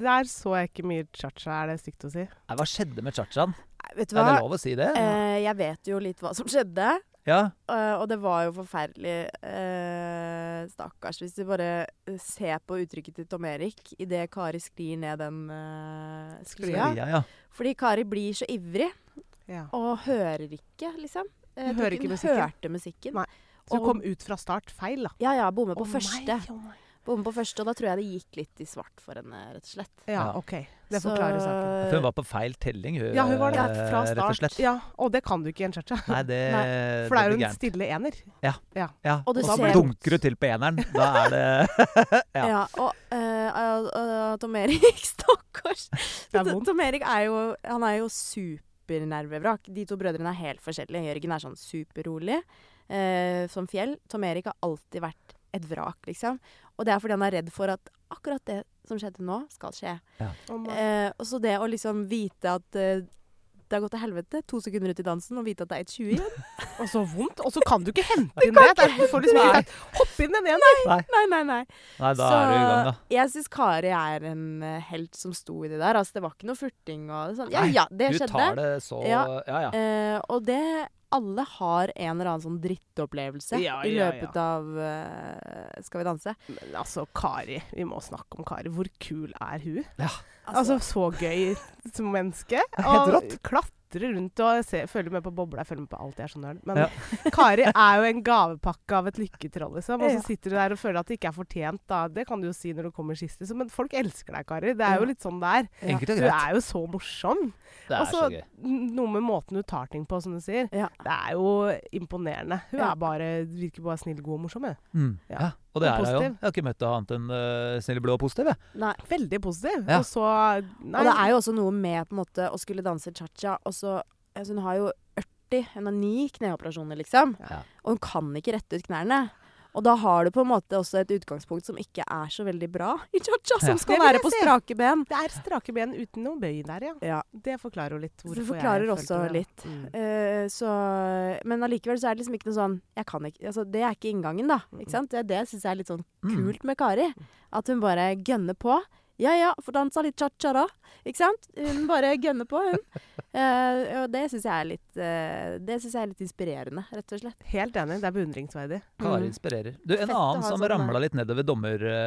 Speaker 4: Der så jeg ikke mye cha-cha, er det stygt å si.
Speaker 2: Nei, Hva skjedde med chachaen?
Speaker 1: Nei, Vet du
Speaker 2: Er
Speaker 1: hva?
Speaker 2: det lov å si det?
Speaker 1: Eh, jeg vet jo litt hva som skjedde,
Speaker 2: Ja.
Speaker 1: eh, og det var jo forferdelig. Eh, stakkars. Hvis du bare eh, ser på uttrykket til Tom Erik idet Kari sklir ned den eh, sklia.
Speaker 2: Ja, ja.
Speaker 1: Fordi Kari blir så ivrig
Speaker 4: Ja.
Speaker 1: og hører ikke, liksom. Eh,
Speaker 4: Hun
Speaker 1: tror
Speaker 4: hører ikke musikken.
Speaker 1: Hørte musikken.
Speaker 4: Nei. Så
Speaker 1: Og-
Speaker 4: kom Oh ut fra start feil, da.
Speaker 1: Ja ja, bomme på
Speaker 4: Å, nei,
Speaker 1: første.
Speaker 4: å, nei.
Speaker 1: Bomme på første, og da tror jeg det gikk litt i svart for henne, rett og slett.
Speaker 4: Ja,
Speaker 2: Ja.
Speaker 4: OK. Det forklarer saken.
Speaker 2: For hun var på feil telling, hun,
Speaker 4: Eh, Ja, hun var det.
Speaker 2: eh,
Speaker 4: Fra
Speaker 2: rett og slett.
Speaker 4: start. Ja, og det kan du ikke i en cha-cha.
Speaker 2: Nei, det,
Speaker 4: For Eh, det er jo
Speaker 2: blir
Speaker 4: en
Speaker 2: gærent.
Speaker 4: stille ener.
Speaker 2: Ja.
Speaker 1: Og
Speaker 2: Og
Speaker 1: du
Speaker 2: så
Speaker 1: ser-
Speaker 2: dunker du til på eneren. Da er det Ja.
Speaker 1: Ja, og eh, eh, eh, Tom Erik, stakkars.
Speaker 4: Det er vondt.
Speaker 1: Tom Erik er jo, han er jo super supernervevrak. De to brødrene er helt forskjellige. Jørgen er sånn superrolig eh, som fjell. Tom Erik har alltid vært et vrak, liksom. Og det er fordi han er redd for at akkurat det som skjedde nå, skal skje.
Speaker 4: Å, ma-
Speaker 1: Eh, og så det å liksom vite at eh, det har gått til helvete, to sekunder ut i dansen, og vite at det er et 20 igjen.
Speaker 4: eh, Og så vondt. Og så kan du ikke hente inn det. det. er- Du får liksom
Speaker 2: Nei.
Speaker 4: ikke sagt 'hopp inn den ene'.
Speaker 1: Nei, nei, nei.
Speaker 2: Nei, da
Speaker 1: så
Speaker 2: er du i gang, da.
Speaker 1: jeg syns Kari er en eh, helt som sto i det der. Altså, det var ikke noe furting og sånn. Ja
Speaker 2: Nei,
Speaker 1: ja, det
Speaker 2: Du
Speaker 1: skjedde.
Speaker 2: tar det så Ja,
Speaker 1: Ja.
Speaker 2: ja.
Speaker 1: Eh, og det Alle har en eller annen sånn drittopplevelse
Speaker 4: Ja,
Speaker 1: i
Speaker 4: ja,
Speaker 1: løpet av eh, Skal vi danse.
Speaker 4: Men altså, Kari. Vi må snakke om Kari. Hvor kul er hun?
Speaker 1: Altså,
Speaker 4: Altså, så gøy som menneske.
Speaker 2: helt
Speaker 4: Og
Speaker 2: rått.
Speaker 4: klatre rundt og se, følge med på bobla. Jeg følger med på alt, jeg er så nerd. Men
Speaker 2: Ja.
Speaker 4: Kari er jo en gavepakke av et lykketroll, liksom. Og
Speaker 1: Ja.
Speaker 4: så sitter du der og føler at det ikke er fortjent, da. Det kan du jo si når du kommer sist, liksom. Men folk elsker deg, Kari. Det er
Speaker 1: Ja.
Speaker 4: jo litt sånn det er.
Speaker 2: Enkelt og
Speaker 4: Du
Speaker 2: greit.
Speaker 4: er jo så morsom.
Speaker 2: Det
Speaker 4: Og
Speaker 2: er så gøy.
Speaker 4: Altså, noe med måten du tar ting på, som du sier.
Speaker 1: Ja.
Speaker 4: Det er jo imponerende. Hun
Speaker 1: Ja.
Speaker 4: er bare, virker bare snill, god og morsom. jeg.
Speaker 2: Mm.
Speaker 4: Ja.
Speaker 2: Ja. Og det
Speaker 4: Og
Speaker 2: er jeg jo. Jeg
Speaker 4: positiv.
Speaker 2: har ikke møtt deg annet enn eh, snill, blå og positiv, jeg.
Speaker 1: nei.
Speaker 4: Veldig positiv.
Speaker 2: Ja.
Speaker 4: Og så nei,
Speaker 1: Og det er jo også noe med på en måte å skulle danse cha-cha, og så altså, Hun har jo 80, hun har ni kneoperasjoner, liksom.
Speaker 2: Ja.
Speaker 1: Og hun kan ikke rette ut knærne. Og da har du på en måte også et utgangspunkt som ikke er så veldig bra i cha-cha,
Speaker 2: Ja.
Speaker 1: som skal
Speaker 4: Det vil
Speaker 1: være
Speaker 4: jeg
Speaker 1: på
Speaker 4: si.
Speaker 1: strake ben.
Speaker 4: det er strake ben uten noe bøy der, ja.
Speaker 1: Ja.
Speaker 4: Det forklarer jo litt
Speaker 1: Så
Speaker 4: hvorfor
Speaker 1: det
Speaker 4: jeg
Speaker 1: forklarer
Speaker 4: følte
Speaker 1: også
Speaker 4: det, da.
Speaker 1: litt.
Speaker 4: Mm.
Speaker 1: Eh, så, men allikevel så er det liksom ikke noe sånn jeg kan ikke, altså, Det er ikke inngangen, da. Ikke sant? Det, det syns jeg er litt sånn
Speaker 2: Mm.
Speaker 1: kult med Kari. At hun bare gønner på. Ja ja, får dansa litt cha-cha da. Ikke sant? Hun bare gønner på, hun. Eh, og det syns jeg er litt eh, Det synes jeg er litt inspirerende, rett og slett.
Speaker 4: Helt enig, det er beundringsverdig.
Speaker 2: Kari
Speaker 1: Mm.
Speaker 2: inspirerer. Du, En
Speaker 1: Fett å ha
Speaker 2: annen som
Speaker 1: sånne.
Speaker 2: ramla litt nedover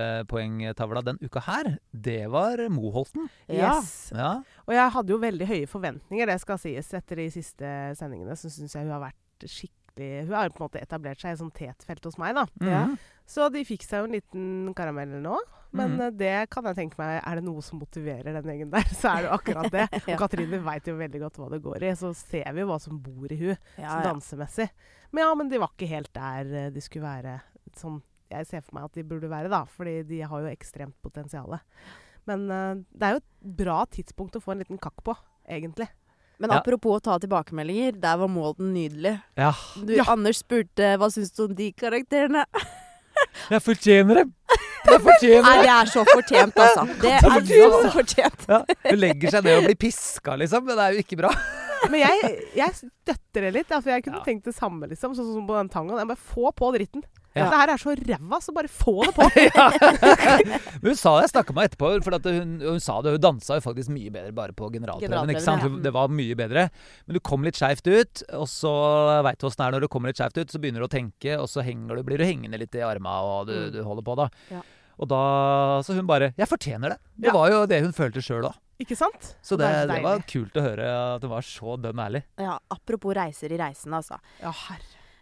Speaker 2: dommerpoengtavla den uka her, det var Moholten.
Speaker 1: Ja.
Speaker 4: Yes.
Speaker 2: Ja.
Speaker 4: Og jeg hadde jo veldig høye forventninger, det skal sies. Etter de siste sendingene så syns jeg hun har vært skikkelig Hun har på en måte etablert seg i et sånt tetfelt hos meg, da.
Speaker 2: Mm.
Speaker 1: Ja.
Speaker 4: Så de fikk seg jo en liten karamell nå. Men
Speaker 1: Mm.
Speaker 2: Mhm.
Speaker 4: eh, det kan jeg tenke meg Er det noe som motiverer den gjengen der, så er det jo akkurat det. Og
Speaker 1: Ja.
Speaker 4: Katrine veit jo veldig godt hva det går i. Så ser vi jo hva som bor i hun,
Speaker 1: Ja,
Speaker 4: sånn
Speaker 1: ja.
Speaker 4: dansemessig. Men ja, men de var ikke helt der eh, de skulle være. Sånn jeg ser for meg at de burde være, da. Fordi de har jo ekstremt potensial. Men eh, det er jo et bra tidspunkt å få en liten kakk på, egentlig.
Speaker 1: Men
Speaker 2: Ja.
Speaker 1: apropos å ta tilbakemeldinger, der var Molden nydelig.
Speaker 2: ja.
Speaker 1: Du, Anders spurte hva syns du om de karakterene.
Speaker 2: Jeg fortjener dem! Jeg fortjener
Speaker 1: Nei,
Speaker 2: dem!
Speaker 1: det er så fortjent, altså. Det er så fortjent.
Speaker 2: Ja. Hun legger seg ned og blir piska, liksom. Men det er jo ikke bra.
Speaker 4: Men jeg, jeg støtter det litt. da, For jeg kunne
Speaker 2: Ja.
Speaker 4: tenkt det samme, liksom. Sånn som på den tangoen. Jeg bare få på dritten.
Speaker 2: Ja.
Speaker 4: Det her er så ræva, så bare få det på.
Speaker 2: Men hun sa det, jeg snakka med henne etterpå, for at hun, hun sa det, hun dansa jo faktisk mye bedre bare på generalprøven.
Speaker 1: Generalprøven,
Speaker 2: ikke sant?
Speaker 1: ja.
Speaker 2: Hun- Det var mye bedre. Men du kom litt skeivt ut, og så veit du åssen det er når du kommer litt skeivt ut, så begynner du å tenke, og så henger du, blir du hengende litt i arma, og du,
Speaker 4: Mm.
Speaker 2: du holder på da.
Speaker 1: Ja.
Speaker 2: Og da Så hun bare 'Jeg fortjener det'. Det
Speaker 4: Ja.
Speaker 2: var jo det hun følte sjøl òg.
Speaker 4: Ikke sant?
Speaker 2: Så
Speaker 4: Og er
Speaker 2: det, det var
Speaker 4: deilig.
Speaker 2: kult å høre at hun var så dønn ærlig.
Speaker 1: Ja, apropos reiser i reisen, altså.
Speaker 4: Ja, herre.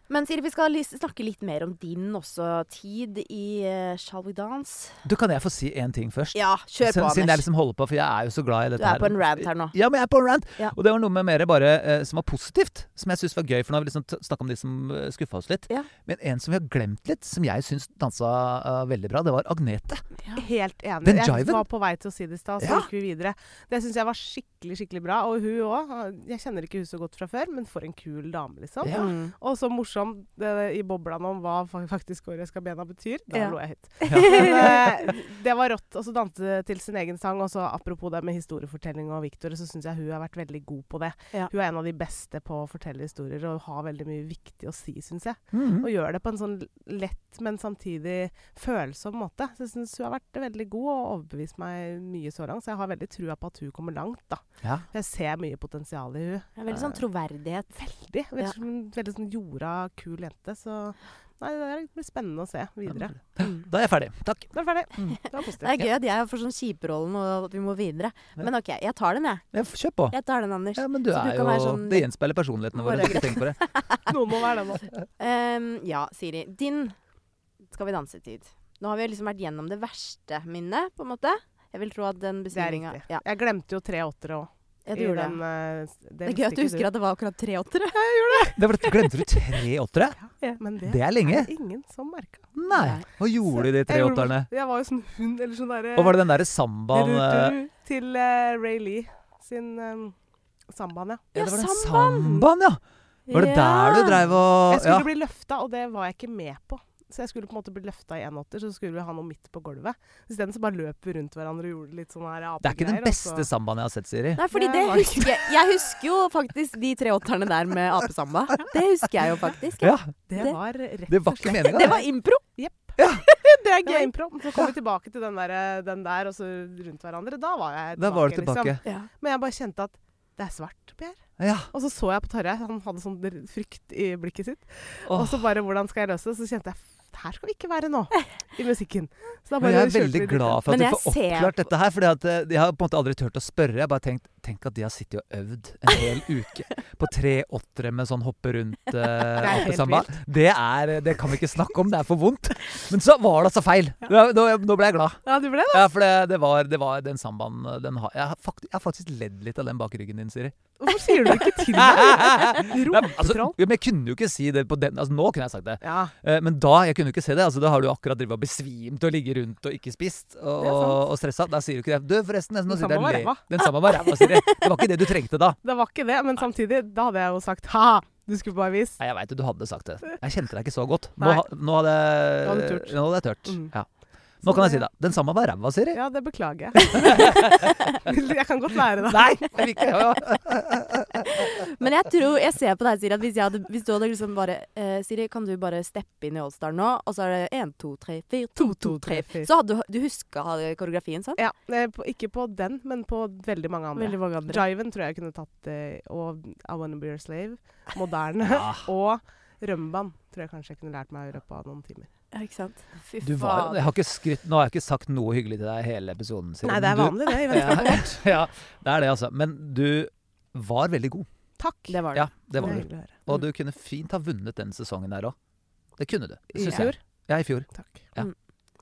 Speaker 1: Men Siri, vi skal li- snakke litt mer om din også tid i eh, Shall we dance?
Speaker 2: Du, kan jeg få si én ting først?
Speaker 1: Ja, kjør på,
Speaker 2: Siden- Siden jeg
Speaker 1: Anders.
Speaker 2: liksom holder på, for jeg er jo så glad i dette
Speaker 1: Du er på en rant her nå.
Speaker 2: Ja, men jeg er på en rant.
Speaker 1: Ja.
Speaker 2: Og det var noe med mer bare eh, som var positivt, som jeg syns var gøy. For nå har vi liksom t- snakket om de som eh, skuffa oss litt.
Speaker 1: Ja.
Speaker 2: Men en som vi har glemt litt, som jeg syns dansa eh, veldig bra, det var Agnete.
Speaker 4: Helt enig.
Speaker 2: Den
Speaker 4: jeg
Speaker 2: jiven.
Speaker 4: var på vei til å si det i stad, så
Speaker 2: Ja.
Speaker 4: gikk vi videre. Det syns jeg var skikkelig, skikkelig bra. Og hun òg. Jeg kjenner ikke hun så godt fra før, men for en kul dame, liksom.
Speaker 2: Ja.
Speaker 1: Mm.
Speaker 4: Og så morsom det, i boblan om hva fa- faktisk årøska bena betyr. Da
Speaker 1: Ja.
Speaker 4: lo jeg høyt. Men, eh, det var rått. Og så danse til sin egen sang. Og så apropos det med historiefortelling og Victor, så syns jeg hun har vært veldig god på det.
Speaker 1: Ja.
Speaker 4: Hun er en av de beste på å fortelle historier, og har veldig mye viktig å si, syns jeg. Og
Speaker 1: Mm.
Speaker 2: Mhm.
Speaker 4: gjør det på en sånn lett, men samtidig følsom måte. Så jeg syns hun har vært veldig god og overbevist meg mye så langt. Så jeg har veldig trua på at hun kommer langt, da.
Speaker 2: Ja.
Speaker 4: Jeg ser mye potensial i hun.
Speaker 1: Det er Veldig sånn troverdighet.
Speaker 4: Veldig. Veldig,
Speaker 1: Ja.
Speaker 4: som, en veldig sånn jorda, kul jente. Så nei, det der blir spennende å se videre.
Speaker 1: Mm.
Speaker 2: Da er jeg ferdig. Takk.
Speaker 4: Da er vi ferdig. Det var
Speaker 1: Det er
Speaker 4: positivt.
Speaker 1: gøy at jeg får sånn kjiperollen og at vi må videre.
Speaker 2: Ja.
Speaker 1: Men OK, jeg tar den, jeg.
Speaker 2: Ja, f- Kjør på.
Speaker 1: Jeg tar den, Anders.
Speaker 2: Ja, men du
Speaker 1: Så du
Speaker 2: er
Speaker 1: kan
Speaker 2: jo
Speaker 1: være sånn-
Speaker 2: Det gjenspeiler personlighetene våre.
Speaker 1: Bare-
Speaker 2: Ikke tenk på det.
Speaker 4: Noen må være det nå.
Speaker 1: Ehm, ja, Siri. Din Skal vi danse-tid. Nå har vi liksom vært gjennom det verste minnet, på en måte. Jeg vil tro at den
Speaker 4: Det er
Speaker 1: beskrivinga
Speaker 4: riktig.
Speaker 1: Ja,
Speaker 4: Jeg glemte jo tre åttere òg.
Speaker 1: jeg tror det.
Speaker 4: eh,
Speaker 1: Det er gøy at eh, du husker at det var akkurat tre åttere.
Speaker 2: det var, glemte du tre åttere?
Speaker 4: Men det,
Speaker 2: Det er lenge.
Speaker 4: er ingen som merka.
Speaker 2: Nei. Hva gjorde de tre
Speaker 4: Jeg gjorde-
Speaker 2: åtterne?
Speaker 4: Jeg var jo sånn hund, eller sånn derre
Speaker 2: eh, Og var det den derre sambaen eh,
Speaker 4: Til eh, Ray Lee sin eh, Sambaen, ja.
Speaker 1: Ja,
Speaker 2: det var den
Speaker 1: samban.
Speaker 2: samban, ja! Var det der du dreiv
Speaker 4: Jeg
Speaker 2: og
Speaker 4: skulle
Speaker 2: Ah, ja.
Speaker 4: bli løfta, og det var jeg ikke med på. Så jeg skulle på en måte bli løfta i en åtter, så skulle vi ha noe midt på gulvet. Isteden så bare løp vi rundt hverandre og gjorde litt sånn her
Speaker 2: Det er ikke den
Speaker 4: apegreier, og så-
Speaker 2: beste sambaen jeg har sett, Siri.
Speaker 1: Nei, fordi
Speaker 4: Det
Speaker 1: det
Speaker 4: var det
Speaker 1: husker jeg. Jeg husker jo faktisk de tre åtterne der med apesamba. Det husker jeg jo faktisk.
Speaker 2: Ja,
Speaker 4: Det
Speaker 1: Det-
Speaker 4: var rett
Speaker 2: Det var ikke meninga.
Speaker 1: Det var impro.
Speaker 4: Jepp.
Speaker 2: Ja.
Speaker 4: det er gøy. impro. Så kom vi tilbake til den der, eh, den der, og så rundt hverandre. Da var jeg tilbake.
Speaker 2: Da var du tilbake.
Speaker 4: Liksom. Men jeg bare kjente at det er svart, Per.
Speaker 2: Ja.
Speaker 4: Og så så jeg på Tarjei, han hadde sånn der- frykt i blikket sitt.
Speaker 2: Åh.
Speaker 4: Og så bare hvordan skal jeg løse det? Så kjente jeg "F- her skal vi ikke være nå, i musikken. Så da
Speaker 2: Men jeg er
Speaker 4: kjørte
Speaker 2: veldig
Speaker 4: vi dit.
Speaker 2: glad for at
Speaker 1: Men
Speaker 2: vi
Speaker 1: jeg
Speaker 2: får
Speaker 1: ser-
Speaker 2: oppklart dette her. For jeg har på en måte aldri turt å spørre. Jeg har bare tenkt Tenk at de har sittet og øvd en hel uke på tre åttere med sånn hoppe rundt uh,
Speaker 4: helt
Speaker 2: apesamba. Det, er- eh, det kan vi ikke snakke om, det er for vondt. Men så var det altså feil. Nå, nå nå ble jeg glad.
Speaker 4: Ja, du ble det?
Speaker 2: Ja, for det, det, var, det var den sambaen eh, den har jeg har, faktisk, jeg har faktisk ledd litt av den bak ryggen din, Siri.
Speaker 4: Hvorfor sier du ikke til meg?
Speaker 2: Nei, men altså,
Speaker 4: Rumpetroll.
Speaker 2: ja, men jeg kunne jo ikke si det på den altså, Nå kunne jeg sagt det.
Speaker 4: Ja.
Speaker 2: Eh, Men da jeg kunne jo ikke se det. altså Da har du akkurat drevet og besvimt og ligget rundt og ikke spist og,
Speaker 4: Det er sant.
Speaker 2: og stressa. Da sier du ikke det. Du, forresten, den,
Speaker 4: Den
Speaker 2: sitter jeg
Speaker 4: samme
Speaker 2: og
Speaker 4: var
Speaker 2: ler.
Speaker 4: ræva.
Speaker 2: den samme var ræva, Siri. Det var ikke det du trengte da.
Speaker 4: Det var ikke det, men samtidig, da hadde jeg jo sagt ha, du skulle bare vise.
Speaker 2: Nei, jeg veit du hadde sagt det. Jeg kjente deg ikke så godt. Nå,
Speaker 4: Nei.
Speaker 2: ha- nå hadde
Speaker 4: Nå hadde du
Speaker 2: jeg
Speaker 4: turt.
Speaker 2: Nå hadde jeg turt.
Speaker 4: Mm.
Speaker 2: Ja. Nå
Speaker 4: Så
Speaker 2: kan jeg si
Speaker 4: det-
Speaker 2: det. Den samme var ræva, Siri.
Speaker 4: Ja, det beklager jeg. jeg kan godt lære det.
Speaker 2: Nei! Jeg vil ikke. Ja, ja.
Speaker 1: Men jeg tror, jeg ser på deg, Siri, at hvis, jeg hadde, hvis du hadde liksom bare eh, Siri, kan du bare steppe inn i Allstar nå? Og så er det én, to, tre, fire, to, to, tre. Så hadde du, du huska koreografien, sant?
Speaker 4: Ja, eh, på, ikke på den, men på veldig mange andre.
Speaker 1: Veldig mange andre.
Speaker 4: Jiven tror jeg kunne tatt eh, og I Wanna Be Your Slave, moderne,
Speaker 2: Ja.
Speaker 4: og Rømban tror jeg kanskje jeg kunne lært meg i løpet av noen timer.
Speaker 1: Ja, ikke sant? Fy
Speaker 2: Du var,
Speaker 1: faen.
Speaker 2: jeg har ikke skrytt, nå har jeg ikke sagt noe hyggelig til deg i hele episoden. Siri,
Speaker 4: Nei, det er
Speaker 2: men du-
Speaker 4: vanlig det i
Speaker 2: Ja,
Speaker 4: vennskapet vårt.
Speaker 2: ja, det er det, altså. Men du var veldig god.
Speaker 4: Takk.
Speaker 1: Det var det.
Speaker 2: Ja, det var
Speaker 4: er
Speaker 2: du.
Speaker 4: hyggelig å høre.
Speaker 2: Og du kunne fint ha vunnet den sesongen der òg. Det kunne du. Det
Speaker 4: I
Speaker 2: syns jeg.
Speaker 4: fjor.
Speaker 2: Ja, i fjor.
Speaker 4: Takk.
Speaker 2: Ja,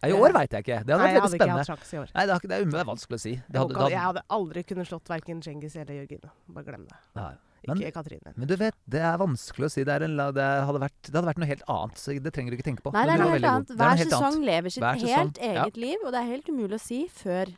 Speaker 2: I år veit jeg ikke. Det hadde
Speaker 4: Nei,
Speaker 2: vært
Speaker 4: jeg
Speaker 2: veldig
Speaker 4: hadde ikke hatt
Speaker 2: spennende.
Speaker 4: sjanse i år.
Speaker 2: Nei, det er, ikke- det er, um- det er vanskelig å si. Det hadde,
Speaker 4: jeg, hadde,
Speaker 2: det
Speaker 4: jeg
Speaker 2: hadde,
Speaker 4: hadde aldri kunnet slått verken Cengiz eller Jørgine. Bare glem det.
Speaker 2: nei.
Speaker 4: Ikke
Speaker 2: Men-
Speaker 4: Katrine.
Speaker 2: Men du vet, det er vanskelig å si. Det, er en, la- det, hadde vært, det hadde vært noe helt annet. Så det trenger du ikke tenke på.
Speaker 1: Nei, det
Speaker 2: Men
Speaker 1: er
Speaker 2: du
Speaker 1: noe
Speaker 2: var
Speaker 1: helt
Speaker 2: veldig
Speaker 1: annet.
Speaker 2: god. Det er noe
Speaker 1: Hver
Speaker 2: helt
Speaker 1: sesong
Speaker 2: annet.
Speaker 1: lever sitt
Speaker 2: Hver sesong,
Speaker 1: helt eget liv, og det er helt umulig å si før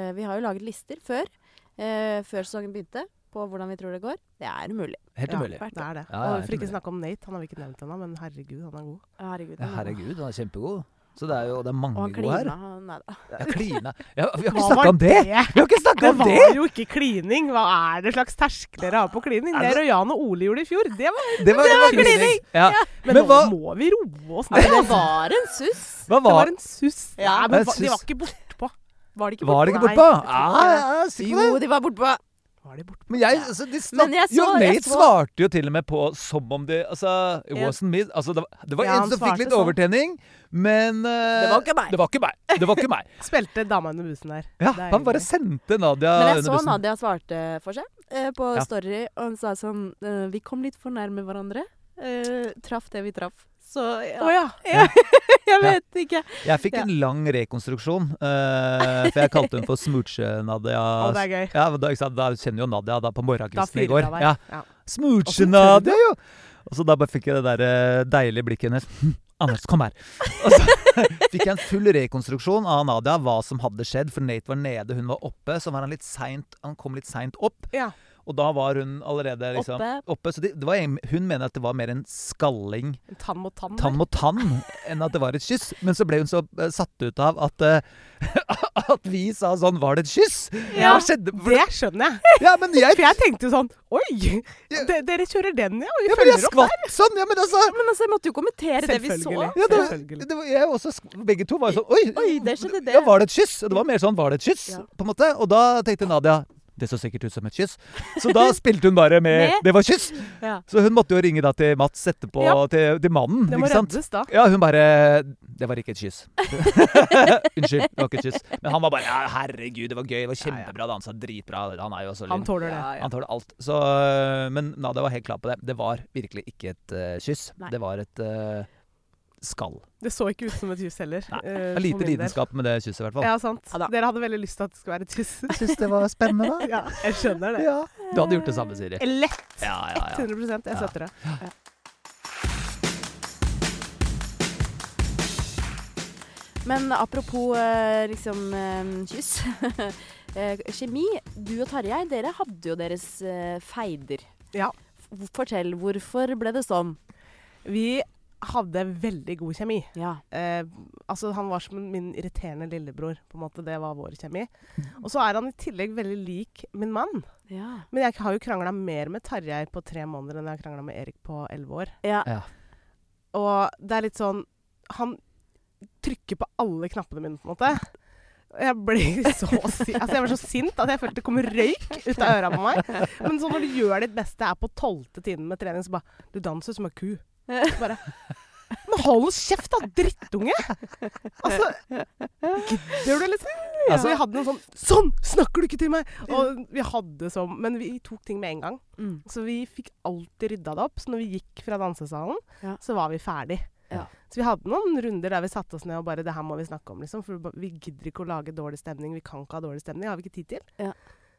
Speaker 1: eh, Vi har jo laget lister før, eh, før sesongen begynte, på hvordan vi tror det går. Det er umulig.
Speaker 2: Helt
Speaker 4: Ja,
Speaker 2: umulig.
Speaker 1: hvert
Speaker 4: Det er det.
Speaker 2: Ja, ja,
Speaker 4: og
Speaker 2: helt
Speaker 4: for ikke
Speaker 2: umulig.
Speaker 4: snakke om Nate, han har vi ikke nevnt ennå, men herregud, han er god.
Speaker 1: Herregud.
Speaker 2: Ja,
Speaker 1: han er-
Speaker 2: herregud, han er kjempegod. Så det er jo det
Speaker 1: Og
Speaker 2: er mange
Speaker 1: han
Speaker 2: gode Mm, her.
Speaker 1: klina. han- Nei da.
Speaker 2: Ja, klina. Ja, vi har ikke
Speaker 4: Hva
Speaker 2: snakka
Speaker 4: var
Speaker 2: om det! Vi har ikke snakka
Speaker 4: Det
Speaker 2: om det!
Speaker 4: var jo ikke klining! Hva er det slags terskler dere har på klining?
Speaker 2: Er
Speaker 4: Det
Speaker 2: det-
Speaker 4: Rojan og Ole gjorde i fjor. Det var
Speaker 2: Det var, det var
Speaker 4: klining!
Speaker 2: klining! Ja.
Speaker 4: Men,
Speaker 2: Men
Speaker 4: nå
Speaker 2: hva-
Speaker 4: må vi roe oss
Speaker 1: Men
Speaker 4: ned.
Speaker 1: det var en suss.
Speaker 2: Hva
Speaker 4: Det var
Speaker 2: var,
Speaker 4: en suss.
Speaker 1: Ja.
Speaker 4: Nei, men
Speaker 2: Det er
Speaker 4: hva- de
Speaker 2: suss.
Speaker 4: var ikke bortpå.
Speaker 1: Var det ikke
Speaker 2: var det ikke Ah,
Speaker 4: Nei,
Speaker 2: bortpå?
Speaker 4: jeg tror ikke
Speaker 2: Ja, ja, si det.
Speaker 1: Jo, de var bortpå.
Speaker 4: Var de bortpå?
Speaker 2: Men jeg, altså, de snak,
Speaker 1: Men jeg så-
Speaker 2: jo,
Speaker 1: jeg
Speaker 2: Nate
Speaker 1: så-
Speaker 2: svarte jo til og med på som om det Altså, it
Speaker 4: Ja.
Speaker 2: wasn't me. Altså, det, var, det var
Speaker 4: Ja, han
Speaker 2: en som
Speaker 4: svarte
Speaker 2: fikk litt
Speaker 4: sånn.
Speaker 2: overtenning, men eh,
Speaker 1: Det var ikke meg.
Speaker 2: Det var ikke meg. Det var ikke meg.
Speaker 4: Spilte dama under bussen der.
Speaker 2: Ja,
Speaker 4: Det er
Speaker 2: han bare
Speaker 4: hyggelig.
Speaker 2: sendte Nadia
Speaker 1: Men jeg
Speaker 2: under
Speaker 1: så
Speaker 2: bussen.
Speaker 1: Nadia svarte for seg eh, på
Speaker 2: Ja.
Speaker 1: Story, og hun sa sånn eh, Vi kom litt for nærme hverandre. Eh, traff det vi traff. Så
Speaker 4: Å
Speaker 1: ja,
Speaker 4: ja.
Speaker 1: jeg vet ikke.
Speaker 2: Jeg fikk
Speaker 1: Ja.
Speaker 2: en lang rekonstruksjon, eh, for jeg kalte hun for Smooche-Nadia.
Speaker 4: Å, det er gøy.
Speaker 2: Ja, men da, ikke sant, da kjenner jo Nadia da på
Speaker 4: Da
Speaker 2: morgenkvisten i
Speaker 4: fyrer
Speaker 2: går.
Speaker 4: det av deg.
Speaker 2: Ja.
Speaker 4: Ja.
Speaker 2: Smooche-Nadia, jo! Og så da bare fikk jeg det der eh, deilige blikket hennes. Hm, Anders, kom her! Og så fikk jeg en full rekonstruksjon av Nadia, hva som hadde skjedd. For Nate var nede, hun var oppe. Så var han litt seint Han kom litt seint opp,
Speaker 4: Ja.
Speaker 2: og da var hun allerede liksom oppe.
Speaker 1: Oppe.
Speaker 2: så det, det var, en- hun mener at det var mer en skalling
Speaker 4: En Tann mot tann.
Speaker 2: tann
Speaker 4: der.
Speaker 2: mot tann enn at det var et kyss. Men så ble hun så eh, satt ut av at, eh, at vi sa sånn Var det et kyss?
Speaker 4: Ja.
Speaker 2: Hva skjedde? For-
Speaker 4: Det skjønner jeg.
Speaker 2: Ja, men jeg,
Speaker 4: For jeg tenkte jo sånn Oi!
Speaker 2: Ja.
Speaker 4: de- Dere kjører den, ja? Og vi
Speaker 2: ja, men jeg
Speaker 4: følger opp.
Speaker 2: skvatt sånn! Ja, men altså
Speaker 1: Men altså, jeg måtte jo kommentere det vi så.
Speaker 4: Selvfølgelig.
Speaker 2: ja, det,
Speaker 4: Selvfølgelig.
Speaker 2: det var, jeg også, sk- begge to var jo sånn Oi,
Speaker 1: Oi, det skjedde det.
Speaker 2: Ja, var det et kyss? Og Det var mer sånn Var det et kyss?
Speaker 1: Ja.
Speaker 2: På en måte. Og da tenkte Nadia det så sikkert ut som et kyss. Så da spilte hun bare med
Speaker 1: Med?
Speaker 2: 'det var kyss'.
Speaker 1: Ja.
Speaker 2: Så hun måtte jo ringe da til Mats etterpå,
Speaker 4: Ja.
Speaker 2: til, til mannen.
Speaker 4: Det må
Speaker 2: ikke sant?
Speaker 4: reddes da.
Speaker 2: Ja, hun bare Det var ikke et kyss. Unnskyld, det var ikke et kyss. Men han var bare ja, Herregud, det var gøy. Det var kjempebra dansa. Dritbra. Han er jo så
Speaker 4: Han
Speaker 2: lyn.
Speaker 4: tåler det.
Speaker 2: Han tåler alt. Så, øh, men Nadia var helt klar på det. Det var virkelig ikke et øh, kyss.
Speaker 1: Nei.
Speaker 2: Det var et øh, skall.
Speaker 4: Det så ikke ut som et hus heller.
Speaker 2: Nei,
Speaker 4: eh,
Speaker 2: Det er
Speaker 4: for
Speaker 2: lite
Speaker 4: min del.
Speaker 2: lidenskap med det kysset, i hvert fall.
Speaker 4: Ja, sant.
Speaker 1: Ja da.
Speaker 4: Dere hadde veldig lyst til at det skulle være et hus.
Speaker 2: Jeg syns det var spennende, da.
Speaker 4: ja, jeg skjønner det.
Speaker 2: Ja. Du hadde gjort det samme, Siri.
Speaker 4: Lett.
Speaker 2: Ja, ja, ja.
Speaker 4: 100 Jeg
Speaker 2: Ja.
Speaker 4: støtter det.
Speaker 1: Men apropos eh, liksom eh, kyss. eh, kjemi. Du og Tarjei, dere hadde jo deres eh, feider.
Speaker 4: Ja.
Speaker 1: F- Fortell, hvorfor ble det sånn?
Speaker 4: Vi hadde veldig god kjemi.
Speaker 1: Ja.
Speaker 4: Eh, altså Han var som min irriterende lillebror. på en måte, Det var vår kjemi. Og så er han i tillegg veldig lik min mann.
Speaker 1: Ja.
Speaker 4: Men jeg har jo krangla mer med Tarjei på tre måneder enn jeg har krangla med Erik på elleve år.
Speaker 1: ja.
Speaker 2: Ja.
Speaker 4: Og det er litt sånn Han trykker på alle knappene mine, på en måte. Og Jeg ble så si altså jeg var så sint at jeg følte det kom røyk ut av øra på meg. Men så når du gjør ditt beste, er på tolvte timen med trening, så bare Du danser som ei ku. Så Bare Men hold kjeft, da, drittunge! Altså Gidder du, liksom?
Speaker 2: Altså-
Speaker 4: så vi hadde noen sånn Sånn snakker du ikke til meg! Og vi hadde sånn Men vi tok ting med en gang.
Speaker 1: Mm.
Speaker 4: Så vi fikk alltid rydda det opp. Så når vi gikk fra dansesalen,
Speaker 1: Ja.
Speaker 4: så var vi ferdig.
Speaker 1: Ja.
Speaker 4: Så vi hadde noen runder der vi satte oss ned og bare 'Det her må vi snakke om', liksom. For vi ba- vi gidder ikke å lage dårlig stemning. Vi kan ikke ha dårlig stemning. Det har vi ikke tid til.
Speaker 1: Ja.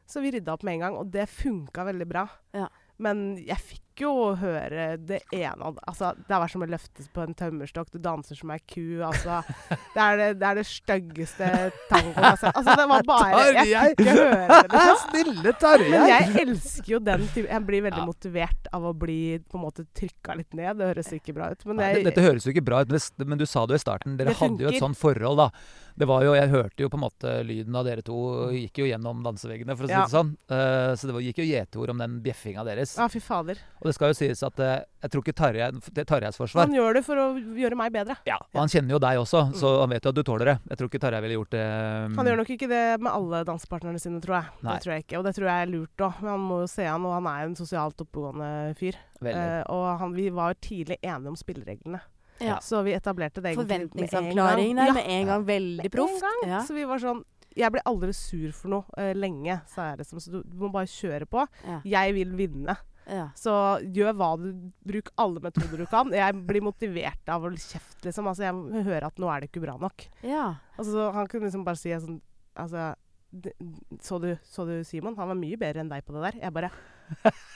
Speaker 4: Så vi rydda opp med en gang, og det funka veldig bra.
Speaker 1: Ja.
Speaker 4: Men jeg fikk jo høre det ene og Altså, det har vært som å løftes på en tømmerstokk. Du danser som ei ku. Altså, det er det, det, er det styggeste tangoen jeg har sett. Altså, det var bare Jeg fikk ikke høre det. liksom.
Speaker 2: Snille
Speaker 4: Men
Speaker 2: Tarjei!
Speaker 4: jeg elsker jo den typen Jeg blir veldig
Speaker 2: Ja.
Speaker 4: motivert av å bli på en måte trykka litt ned. Det høres ikke bra ut, men
Speaker 2: Nei,
Speaker 4: jeg,
Speaker 2: Dette høres jo ikke bra ut, men det- men du sa det jo i starten. Dere
Speaker 4: Det
Speaker 2: hadde jo et
Speaker 4: funker.
Speaker 2: sånt forhold, da. Det var jo, Jeg hørte jo på en måte lyden av dere to gikk jo gjennom danseveggene, for å si
Speaker 4: Ja.
Speaker 2: det sånn. Eh, så det var, gikk jo gjeteord om den bjeffinga deres.
Speaker 4: Ja, fy fader.
Speaker 2: Og det skal jo sies at eh, jeg tror ikke Tarjei Det er Tarjeis forsvar.
Speaker 4: Han gjør det for å gjøre meg bedre.
Speaker 2: Ja, og han kjenner jo deg også, så han vet jo at du tåler det. Jeg tror ikke Tarjei ville gjort det mm,
Speaker 4: Mm. Han gjør nok ikke det med alle dansepartnerne sine, tror jeg.
Speaker 2: Nei.
Speaker 4: Det tror jeg ikke, Og det tror jeg er lurt òg. Men han må jo se han, og han er jo en sosialt oppegående fyr.
Speaker 2: veldig.
Speaker 4: Eh, og han, vi var tidlig enige om spillereglene,
Speaker 1: Ja.
Speaker 4: så vi etablerte det egentlig med en gang.
Speaker 1: Forventningsavklaring der
Speaker 4: Ja,
Speaker 1: med en gang. Veldig proft.
Speaker 4: En gang.
Speaker 1: Ja.
Speaker 4: Så vi var sånn Jeg blir aldri sur for noe eh, lenge, sa jeg liksom. Så du, du må bare kjøre på.
Speaker 1: Ja.
Speaker 4: Jeg vil vinne.
Speaker 1: Ja.
Speaker 4: Så gjør hva du Bruk alle metoder du kan. Jeg blir motivert av å kjeft, liksom. Altså, jeg hører at nå er det ikke bra nok.
Speaker 1: ja.
Speaker 4: Altså, så han kunne liksom bare si sånn Altså d- så du, så du Simon? Han var mye bedre enn deg på det der. Jeg bare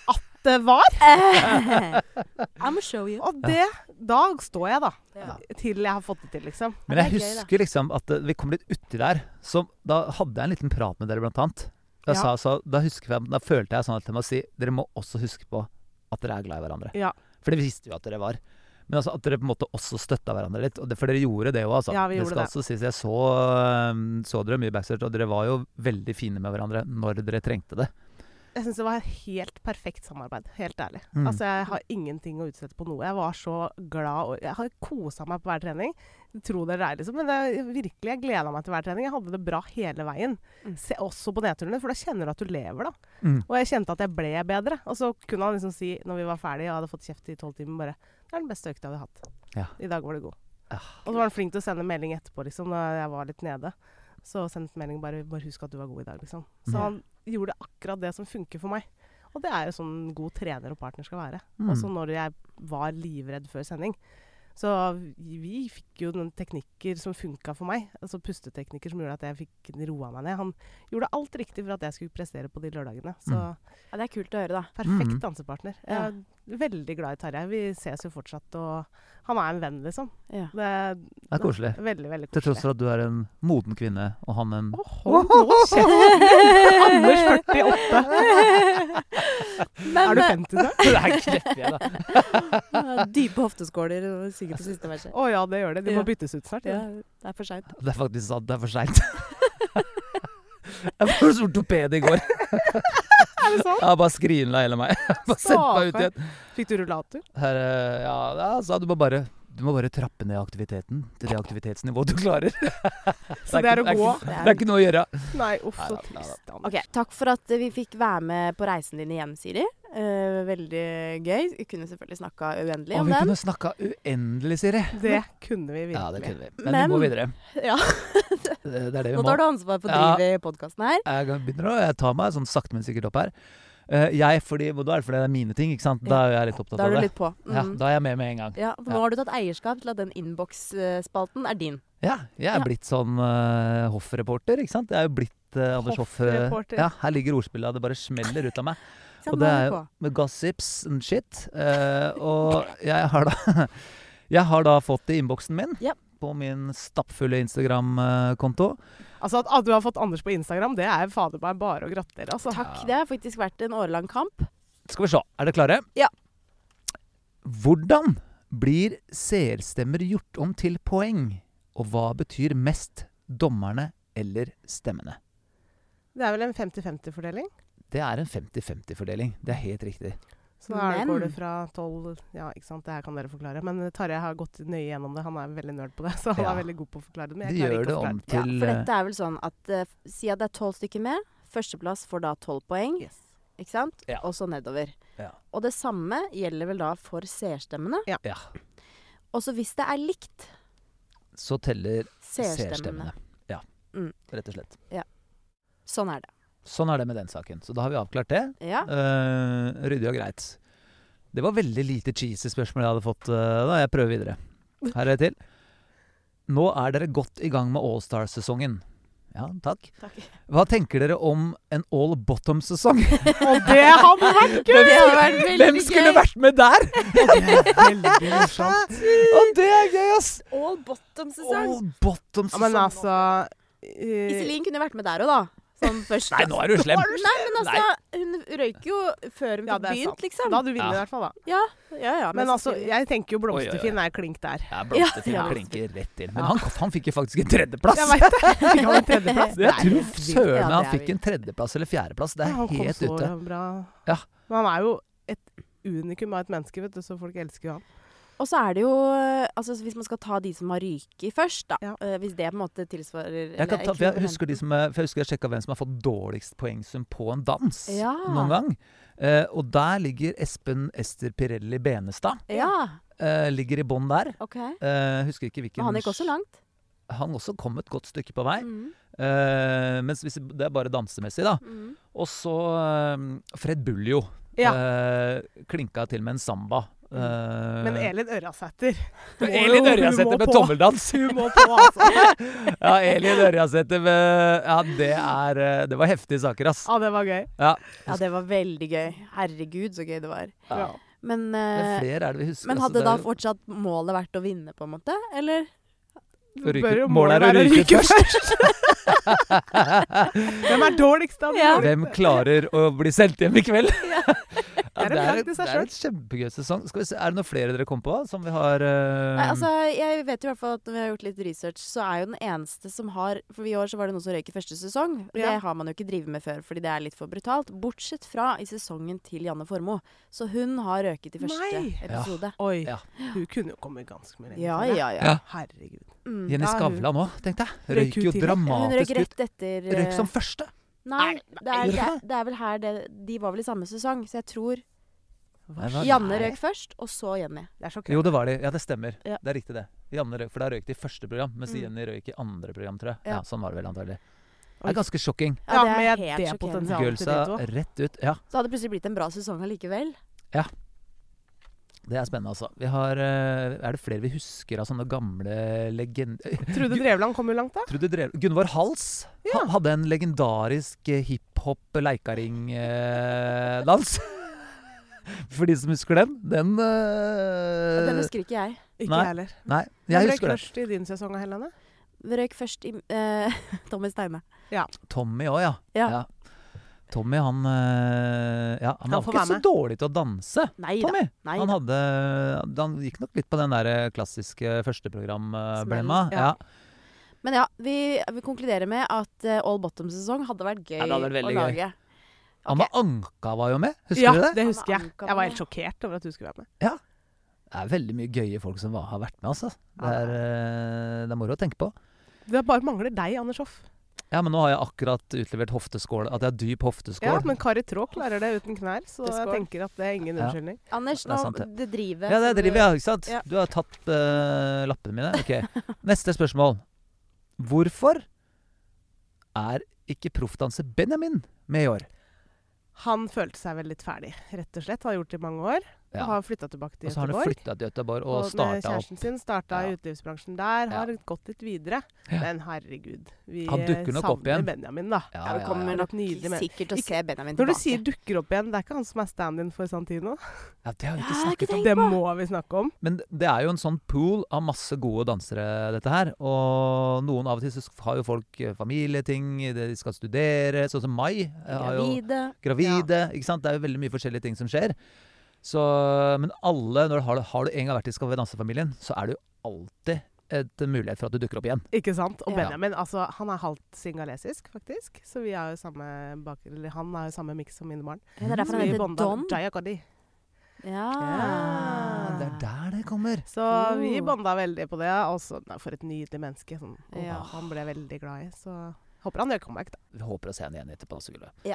Speaker 4: At det var!
Speaker 1: I'm show you.
Speaker 4: Og det Da står jeg, da.
Speaker 1: Ja.
Speaker 4: Til jeg har fått det til, liksom.
Speaker 2: Men
Speaker 1: det
Speaker 2: jeg
Speaker 1: er gøy, da.
Speaker 2: husker liksom at eh, vi kom litt uti der. Så da hadde jeg en liten prat med dere, blant annet. Da,
Speaker 4: Ja.
Speaker 2: sa, sa, da, husker jeg, da følte jeg sånn at jeg må si dere må også huske på at dere er glad i hverandre.
Speaker 4: Ja.
Speaker 2: For det visste vi jo at dere var. Men altså, at dere på en måte også støtta hverandre litt. Og det, for dere gjorde det jo, altså.
Speaker 4: Ja, vi gjorde
Speaker 2: skal
Speaker 4: det.
Speaker 2: også sies. Jeg så, eh, så dere mye backstage, og dere var jo veldig fine med hverandre når dere trengte det.
Speaker 4: Jeg syns det var et helt perfekt samarbeid. Helt ærlig.
Speaker 2: Mm.
Speaker 4: Altså, jeg har ingenting å utsette på noe. Jeg var så glad og Jeg har kosa meg på hver trening. Tro det eller ei, liksom. Men det, virkelig, jeg gleda meg til hver trening. Jeg hadde det bra hele veien.
Speaker 1: Mm.
Speaker 4: Se, også på nedturene, for da kjenner du at du lever, da.
Speaker 2: Mm.
Speaker 4: Og jeg kjente at jeg ble bedre. Og så kunne han liksom si, når vi var ferdige og jeg hadde fått kjeft i tolv timer, bare Det er den beste økta vi har hatt.
Speaker 2: Ja.
Speaker 4: I dag var du god.
Speaker 2: Ah.
Speaker 4: Og så var han flink til å sende melding etterpå, liksom, når jeg var litt nede. Så sendte melding bare 'Bare husk at du var god i dag', liksom. Så
Speaker 2: Mm.
Speaker 4: han gjorde akkurat det som funker for meg. Og det er jo sånn en god trener og sånn- partner skal være.
Speaker 2: Mm.
Speaker 4: Også når jeg var livredd før sending. Så vi fikk jo noen teknikker som funka for meg. Altså pusteteknikker som gjorde at jeg fikk roa meg ned. Han gjorde alt riktig for at jeg skulle prestere på de lørdagene. Så
Speaker 2: Mm.
Speaker 1: Ja, det er kult å høre, da.
Speaker 4: perfekt
Speaker 2: Mm.
Speaker 4: dansepartner. Jeg
Speaker 1: Ja.
Speaker 4: er veldig glad i Tarjei. Vi ses jo fortsatt, og han er en venn, liksom.
Speaker 1: Ja.
Speaker 4: Det er
Speaker 2: Det er koselig.
Speaker 4: veldig, veldig
Speaker 2: Til tross
Speaker 4: koselig.
Speaker 2: for at du er en moden kvinne, og han en
Speaker 4: Å, hold nå kjeft! Anders 48.
Speaker 1: Men,
Speaker 4: Er du 50 da?
Speaker 2: Det er knepper jeg, da.
Speaker 1: eh, Dype hofteskåler og synger på siste verset.
Speaker 4: Å ja, det gjør det. De
Speaker 1: Ja.
Speaker 4: må byttes ut snart.
Speaker 1: Ja,
Speaker 4: Ja.
Speaker 1: det er for seint.
Speaker 2: Det er faktisk sant. Det er for seint. Jeg var hos ortoped i går.
Speaker 4: Er det sånn?
Speaker 2: Jeg har bare skrinla hele meg. Jeg har Bare sendt meg ut igjen.
Speaker 4: Fikk du rullator?
Speaker 2: Her, eh, ja, ja, sa du må bare du må bare trappe ned aktiviteten til det aktivitetsnivået du klarer.
Speaker 4: Så det er å
Speaker 2: ikke-
Speaker 4: gå?
Speaker 2: Det er ikke noe å gjøre.
Speaker 4: Nei, uff, så
Speaker 2: Neida,
Speaker 4: trist. Anders.
Speaker 1: Ok, Takk for at vi fikk være med på reisen din igjen, Siri. Eh, veldig gøy. Vi kunne selvfølgelig snakka uendelig
Speaker 2: Og
Speaker 1: om
Speaker 2: vi
Speaker 1: den.
Speaker 2: kunne snakka uendelig, Siri.
Speaker 4: Det kunne vi virkelig.
Speaker 2: Ja, det kunne vi. Men,
Speaker 1: Men-
Speaker 2: vi må videre.
Speaker 1: Ja,
Speaker 2: Det det er det vi
Speaker 1: Nå
Speaker 2: må.
Speaker 1: tar du ansvar for å
Speaker 2: Ja.
Speaker 1: drive podkasten her.
Speaker 2: Jeg begynner å Jeg tar meg sånn sakte, men sikkert opp her. Eh, Jeg, fordi, og da er det fordi det er mine ting, ikke sant? Da er jeg litt opptatt
Speaker 1: Da
Speaker 2: av
Speaker 1: er du
Speaker 2: det.
Speaker 1: litt på.
Speaker 2: Ja,
Speaker 1: Mm.
Speaker 2: da er jeg med med en gang.
Speaker 1: Ja, for nå
Speaker 2: Ja.
Speaker 1: har du tatt eierskap til at den innboksspalten er din.
Speaker 2: Ja, jeg er
Speaker 1: Ja.
Speaker 2: blitt sånn eh, hoffreporter, ikke sant? Jeg er jo blitt eh, Anders Hoff. eh,
Speaker 4: Hoffreporter.
Speaker 2: ja, her ligger ordspillet, det bare smeller ut av meg.
Speaker 1: Så nå
Speaker 2: Og
Speaker 1: Sånn
Speaker 2: det
Speaker 1: er vi
Speaker 2: er jo
Speaker 1: på.
Speaker 2: med gossips and shit. eh, og jeg har da Jeg har da fått det i innboksen min.
Speaker 1: Ja.
Speaker 2: på min stappfulle Instagram-konto.
Speaker 4: Altså At du har fått Anders på Instagram, det er fader meg bare å gratulere. Altså.
Speaker 1: Takk. Det har faktisk vært en årelang kamp.
Speaker 2: Skal vi se. Er dere klare?
Speaker 1: Ja.
Speaker 2: Hvordan blir seerstemmer gjort om til poeng? Og hva betyr mest dommerne eller stemmene?
Speaker 4: Det er vel en 50-50-fordeling.
Speaker 2: Det er en 50-50-fordeling. Det er helt riktig.
Speaker 4: Så da er det-
Speaker 1: Men-
Speaker 4: går det fra 12 Ja, ikke sant, det her kan dere forklare. Men eh, Tarjei har gått nøye gjennom det. Han er veldig nerd på det, så han
Speaker 2: Ja.
Speaker 4: er veldig god på å forklare det. Men
Speaker 2: Det
Speaker 4: jeg klarer
Speaker 2: gjør
Speaker 4: ikke
Speaker 2: det
Speaker 4: å
Speaker 2: om
Speaker 4: forklare det.
Speaker 1: Ja,
Speaker 2: til eh,
Speaker 1: for dette er vel sånn at eh, si at det er tolv stykker med. Førsteplass får da tolv poeng,
Speaker 4: Yes.
Speaker 1: ikke sant?
Speaker 2: Ja.
Speaker 1: Og så nedover.
Speaker 2: Ja.
Speaker 1: Og det samme gjelder vel da for seerstemmene.
Speaker 2: eh, ja,
Speaker 1: Og så hvis det er likt
Speaker 2: Så teller
Speaker 1: seerstemmene.
Speaker 2: seerstemmene. Ja,
Speaker 1: Mm.
Speaker 2: rett og slett.
Speaker 1: Sånn er det.
Speaker 2: Sånn er det med den saken. Så da har vi avklart det.
Speaker 1: Ja.
Speaker 2: Eh, ryddig og greit. Det var veldig lite cheesy spørsmål jeg hadde fått. eh, da Jeg prøver videre. Her er det til. Nå er dere godt i gang med Allstar-sesongen. Ja, takk.
Speaker 1: Takk.
Speaker 2: Hva tenker dere om en all bottom-sesong?
Speaker 4: Og det hadde vært gøy!
Speaker 1: Det har vært veldig
Speaker 2: Hvem skulle
Speaker 1: gøy.
Speaker 2: vært med der?!
Speaker 4: Veldig morsomt.
Speaker 2: Og det er gøy, ass!
Speaker 1: All bottom-sesong.
Speaker 2: All
Speaker 4: Ja, men
Speaker 2: bottom-sesong.
Speaker 4: altså eh,
Speaker 1: Iselin kunne vært med der òg, da. Sånn først.
Speaker 2: Nei, nå er du slem.
Speaker 1: Nei, men altså, hun røyk jo før hun
Speaker 4: Ja,
Speaker 1: fikk
Speaker 4: det er sant.
Speaker 1: begynt, liksom.
Speaker 4: Da hadde du vunnet,
Speaker 2: Ja.
Speaker 4: i hvert fall. da.
Speaker 1: Ja, ja, ja.
Speaker 4: Men
Speaker 1: så
Speaker 4: altså,
Speaker 1: sier vi-
Speaker 4: jeg tenker jo
Speaker 2: oi, oi.
Speaker 4: blomsterfinn er klink der.
Speaker 2: Jeg blåste til
Speaker 1: Ja.
Speaker 2: å klinke rett inn. Men han, han fikk jo faktisk en tredjeplass.
Speaker 4: Jeg vet det. Fikk han en tredjeplass?
Speaker 2: Jeg
Speaker 1: Ja,
Speaker 2: tror søren
Speaker 1: det
Speaker 2: meg han
Speaker 1: er
Speaker 2: fikk en tredjeplass eller fjerdeplass. Det
Speaker 4: Ja,
Speaker 2: er
Speaker 4: han kom
Speaker 2: helt
Speaker 4: så
Speaker 2: ute.
Speaker 4: bra.
Speaker 2: Ja.
Speaker 4: Men han er jo et unikum av et menneske, vet du, så folk elsker jo han.
Speaker 1: Og så er det jo Altså hvis man skal ta de som har ryket først, da.
Speaker 4: Ja.
Speaker 1: eh, Hvis det på en måte tilsvarer
Speaker 2: Jeg, kan
Speaker 1: eller
Speaker 2: ta, for jeg
Speaker 1: ekvivalenten.
Speaker 2: husker, de som, er- for jeg husker jeg sjekka hvem som har fått dårligst poengsum på en dans
Speaker 1: Ja.
Speaker 2: noen gang. Eh, og der ligger Espen Ester Pirelli Benestad.
Speaker 1: Ja,
Speaker 2: Eh, ligger i bånn der.
Speaker 1: OK.
Speaker 2: Eh, husker ikke hvilken
Speaker 1: Men han gikk også langt.
Speaker 2: Han også kom et godt stykke på vei.
Speaker 1: Mm,
Speaker 2: Eh, mens hvis, det er bare dansemessig, da.
Speaker 1: mm.
Speaker 2: Og så eh, Fred Buljo.
Speaker 4: Ja.
Speaker 2: Eh, klinka til med en samba. Eh,
Speaker 4: Men Elin Ørjasæter må jo-
Speaker 2: Elin
Speaker 4: hun
Speaker 2: Ørjasæter
Speaker 4: må
Speaker 2: med
Speaker 4: på.
Speaker 2: tommeldans!
Speaker 4: Hun må på, altså.
Speaker 2: Ja, Elin Ørjasæter med Ja, det er eh, Det var heftige saker, ass.
Speaker 4: Ja, det var gøy.
Speaker 2: Ja.
Speaker 1: Ja, det var veldig gøy. Herregud, så gøy det var.
Speaker 4: Ja.
Speaker 1: Men,
Speaker 2: Det er
Speaker 1: eh,
Speaker 2: flere er det vi husker.
Speaker 1: men
Speaker 2: altså,
Speaker 1: hadde
Speaker 2: det er
Speaker 1: da
Speaker 2: jo-
Speaker 1: fortsatt målet vært å vinne, på en måte? Eller?
Speaker 2: Å ryke-
Speaker 4: Bør jo
Speaker 2: målet er å
Speaker 4: være
Speaker 2: ryke ut
Speaker 4: først. Hvem er dårligst av de
Speaker 1: Ja.
Speaker 4: dårligste?
Speaker 2: Hvem klarer å bli sendt hjem i kveld? Ja,
Speaker 4: Det er en
Speaker 2: det, er,
Speaker 4: bragd i
Speaker 2: et- det
Speaker 4: seg
Speaker 2: er et kjempegøy sesong. Skal vi se, er det noen flere dere kom på som vi har eh,
Speaker 1: Nei, altså, jeg vet jo i hvert fall at når vi har gjort litt research, så er jo den eneste som har For i år så var det noen som røyk i første sesong. og Det
Speaker 4: Ja.
Speaker 1: har man jo ikke drevet med før, fordi det er litt for brutalt. Bortsett fra i sesongen til Janne Formoe. Så hun har røket i første
Speaker 4: Nei.
Speaker 1: episode.
Speaker 4: Oi,
Speaker 2: Ja.
Speaker 4: hun kunne jo kommet ganske mye lenger.
Speaker 1: Ja,
Speaker 4: tror jeg.
Speaker 1: ja, ja.
Speaker 2: Ja.
Speaker 4: Herregud.
Speaker 1: Mm.
Speaker 2: Jenny
Speaker 4: Ja, hun-
Speaker 2: Skavlan òg, tenkte jeg.
Speaker 4: Røyk
Speaker 2: Røyk
Speaker 4: ut
Speaker 2: jo
Speaker 4: tidlig.
Speaker 1: Hun røyk
Speaker 2: dramatisk ut.
Speaker 1: rett etter
Speaker 2: Røyk som
Speaker 1: eh,
Speaker 2: første.
Speaker 1: Nei, det er,
Speaker 2: gjorde
Speaker 1: det,
Speaker 2: hun
Speaker 1: er, det er vel her det De var vel i samme sesong, så jeg tror
Speaker 2: Nei, hva-
Speaker 1: Janne
Speaker 2: nei.
Speaker 1: røyk først, og så Jenny.
Speaker 4: Det er sjokkerende.
Speaker 2: Jo, det var de. Ja, det stemmer.
Speaker 1: Ja.
Speaker 2: Det er riktig, det. Janne røyk, for da røyk de i første program, mens
Speaker 1: Mm.
Speaker 2: Jenny røyk i andre program, tror jeg.
Speaker 1: Ja.
Speaker 2: Ja, sånn var det vel antagelig. Det
Speaker 4: Oi.
Speaker 2: er ganske shocking.
Speaker 4: Ja,
Speaker 1: det er
Speaker 4: med
Speaker 1: helt
Speaker 4: det
Speaker 1: sjokkerende.
Speaker 4: potensialet. Ja, til de
Speaker 2: Girlsa rett ut. Ja.
Speaker 1: Så hadde det plutselig blitt en bra sesong allikevel.
Speaker 2: Det er spennende, altså. Vi har, eh, er det flere vi husker av sånne gamle legender
Speaker 4: Trude Drevland kom jo langt, da.
Speaker 2: Trude Drev... Gunvor Hals
Speaker 4: Ja.
Speaker 2: ha- hadde en legendarisk eh, hiphop-leikaring-dans. For de som husker den. Den, eh,
Speaker 1: Den husker ikke jeg.
Speaker 4: Ikke
Speaker 2: Nei.
Speaker 4: jeg heller.
Speaker 2: Nei,
Speaker 4: Hvem
Speaker 2: jeg
Speaker 4: ble
Speaker 2: husker det.
Speaker 4: crush i din sesong av Helene?
Speaker 1: Røyk først i eh, Tommy Steine.
Speaker 2: Tommy òg, ja.
Speaker 1: Ja.
Speaker 2: Tommy, han eh, ja, Han,
Speaker 4: Han
Speaker 2: var
Speaker 4: får
Speaker 2: ikke
Speaker 4: være
Speaker 2: så
Speaker 4: med.
Speaker 2: dårlig til å danse.
Speaker 1: Nei da.
Speaker 2: Tommy!
Speaker 1: Nei,
Speaker 2: Han,
Speaker 1: da.
Speaker 2: hadde, han gikk nok litt på den der eh, klassiske førsteprogram-blemma.
Speaker 4: Smellen,
Speaker 2: Ja.
Speaker 4: ja.
Speaker 1: Men ja, vi, vi konkluderer med at eh, all bottom-sesong hadde vært gøy
Speaker 2: Ja, det hadde vært
Speaker 1: å
Speaker 2: veldig gøy.
Speaker 1: lage.
Speaker 2: Anna Anka var jo med, husker
Speaker 4: ja,
Speaker 2: du det?
Speaker 4: det husker jeg.
Speaker 1: Anna Anka var
Speaker 4: Jeg var
Speaker 1: med.
Speaker 4: helt sjokkert over at du skulle være med.
Speaker 2: Det er veldig mye gøye folk som var, har vært med, altså. Det
Speaker 4: Ja,
Speaker 2: er, eh, det er moro å tenke på.
Speaker 4: Det bare mangler deg, Anders Hoff.
Speaker 2: Ja, men nå har jeg akkurat utlevert hofteskål. At jeg har dyp hofteskål.
Speaker 4: Ja, men Kari Traa klarer det uten knær, så
Speaker 1: Det er
Speaker 4: jeg
Speaker 1: skål.
Speaker 4: tenker at det er ingen
Speaker 2: Ja.
Speaker 4: unnskyldning.
Speaker 1: Anders,
Speaker 2: Det er
Speaker 1: nå
Speaker 2: sant,
Speaker 1: det,
Speaker 2: det.
Speaker 1: driver
Speaker 2: Ja, det driver jeg, ikke sant?
Speaker 1: Ja.
Speaker 2: Du har tatt eh, lappene mine. Ok. Neste spørsmål. Hvorfor er ikke proffdanser Benjamin med i år?
Speaker 4: Han følte seg vel litt ferdig, rett og slett. Har gjort det i mange år.
Speaker 2: Ja.
Speaker 4: Og har flytta tilbake til
Speaker 2: Og så har han
Speaker 4: Göteborg.
Speaker 2: flytta til Göteborg og,
Speaker 4: Og med
Speaker 2: starta opp.
Speaker 4: kjæresten sin starta i
Speaker 2: Ja.
Speaker 4: utelivsbransjen der. Har gått litt videre.
Speaker 2: Ja.
Speaker 4: Men herregud, vi
Speaker 2: Han dukker nok
Speaker 4: savner
Speaker 2: opp igjen.
Speaker 4: Benjamin, da.
Speaker 2: Ja,
Speaker 1: Ja, vi
Speaker 2: ja,
Speaker 1: kommer
Speaker 2: ja.
Speaker 4: Det er
Speaker 1: nok
Speaker 4: et nydelig men-
Speaker 1: sikkert til å
Speaker 4: Ikke-
Speaker 1: se Benjamin
Speaker 4: Når du
Speaker 1: tilbake.
Speaker 4: sier 'dukker opp igjen', det er ikke han som er stand-in for Santino.
Speaker 2: ja, det har
Speaker 1: Ja,
Speaker 2: vi ikke
Speaker 1: det har jeg
Speaker 2: snakket om.
Speaker 1: Tenk
Speaker 4: Det
Speaker 1: på.
Speaker 4: må vi snakke om.
Speaker 2: Men det er jo en sånn pool av masse gode dansere, dette her. Og noen av og til så har jo folk eh, familieting, de skal studere. Sånn som Mai. eh, har jo
Speaker 1: Gravide.
Speaker 2: Gravide. ikke sant? Det er jo veldig mye forskjellige ting som skjer. Så, men alle, når du har, har du en gang vært i Skal vi danse-familien, så er det jo alltid et mulighet for at du dukker opp igjen.
Speaker 4: Ikke sant? Og
Speaker 1: Ja.
Speaker 4: Benjamin altså, han er halvt singalesisk, faktisk. Så vi har jo samme bak eller, han har jo samme miks som mine barn.
Speaker 1: Ja, det er
Speaker 4: Så
Speaker 1: derfor han
Speaker 4: vi
Speaker 1: heter
Speaker 4: bonda-
Speaker 1: Don.
Speaker 4: Jaya Gotti.
Speaker 1: Ja.
Speaker 4: Ja,
Speaker 2: Det er der det kommer.
Speaker 4: Så vi
Speaker 1: Oh.
Speaker 4: bonda veldig på det. Og så nei, for et nydelig menneske. Sånn, og
Speaker 1: Ja.
Speaker 4: Han ble veldig glad i. Så håper han gjør comeback, da.
Speaker 2: Vi håper å se henne igjen etter dansegulvet.
Speaker 1: Ja.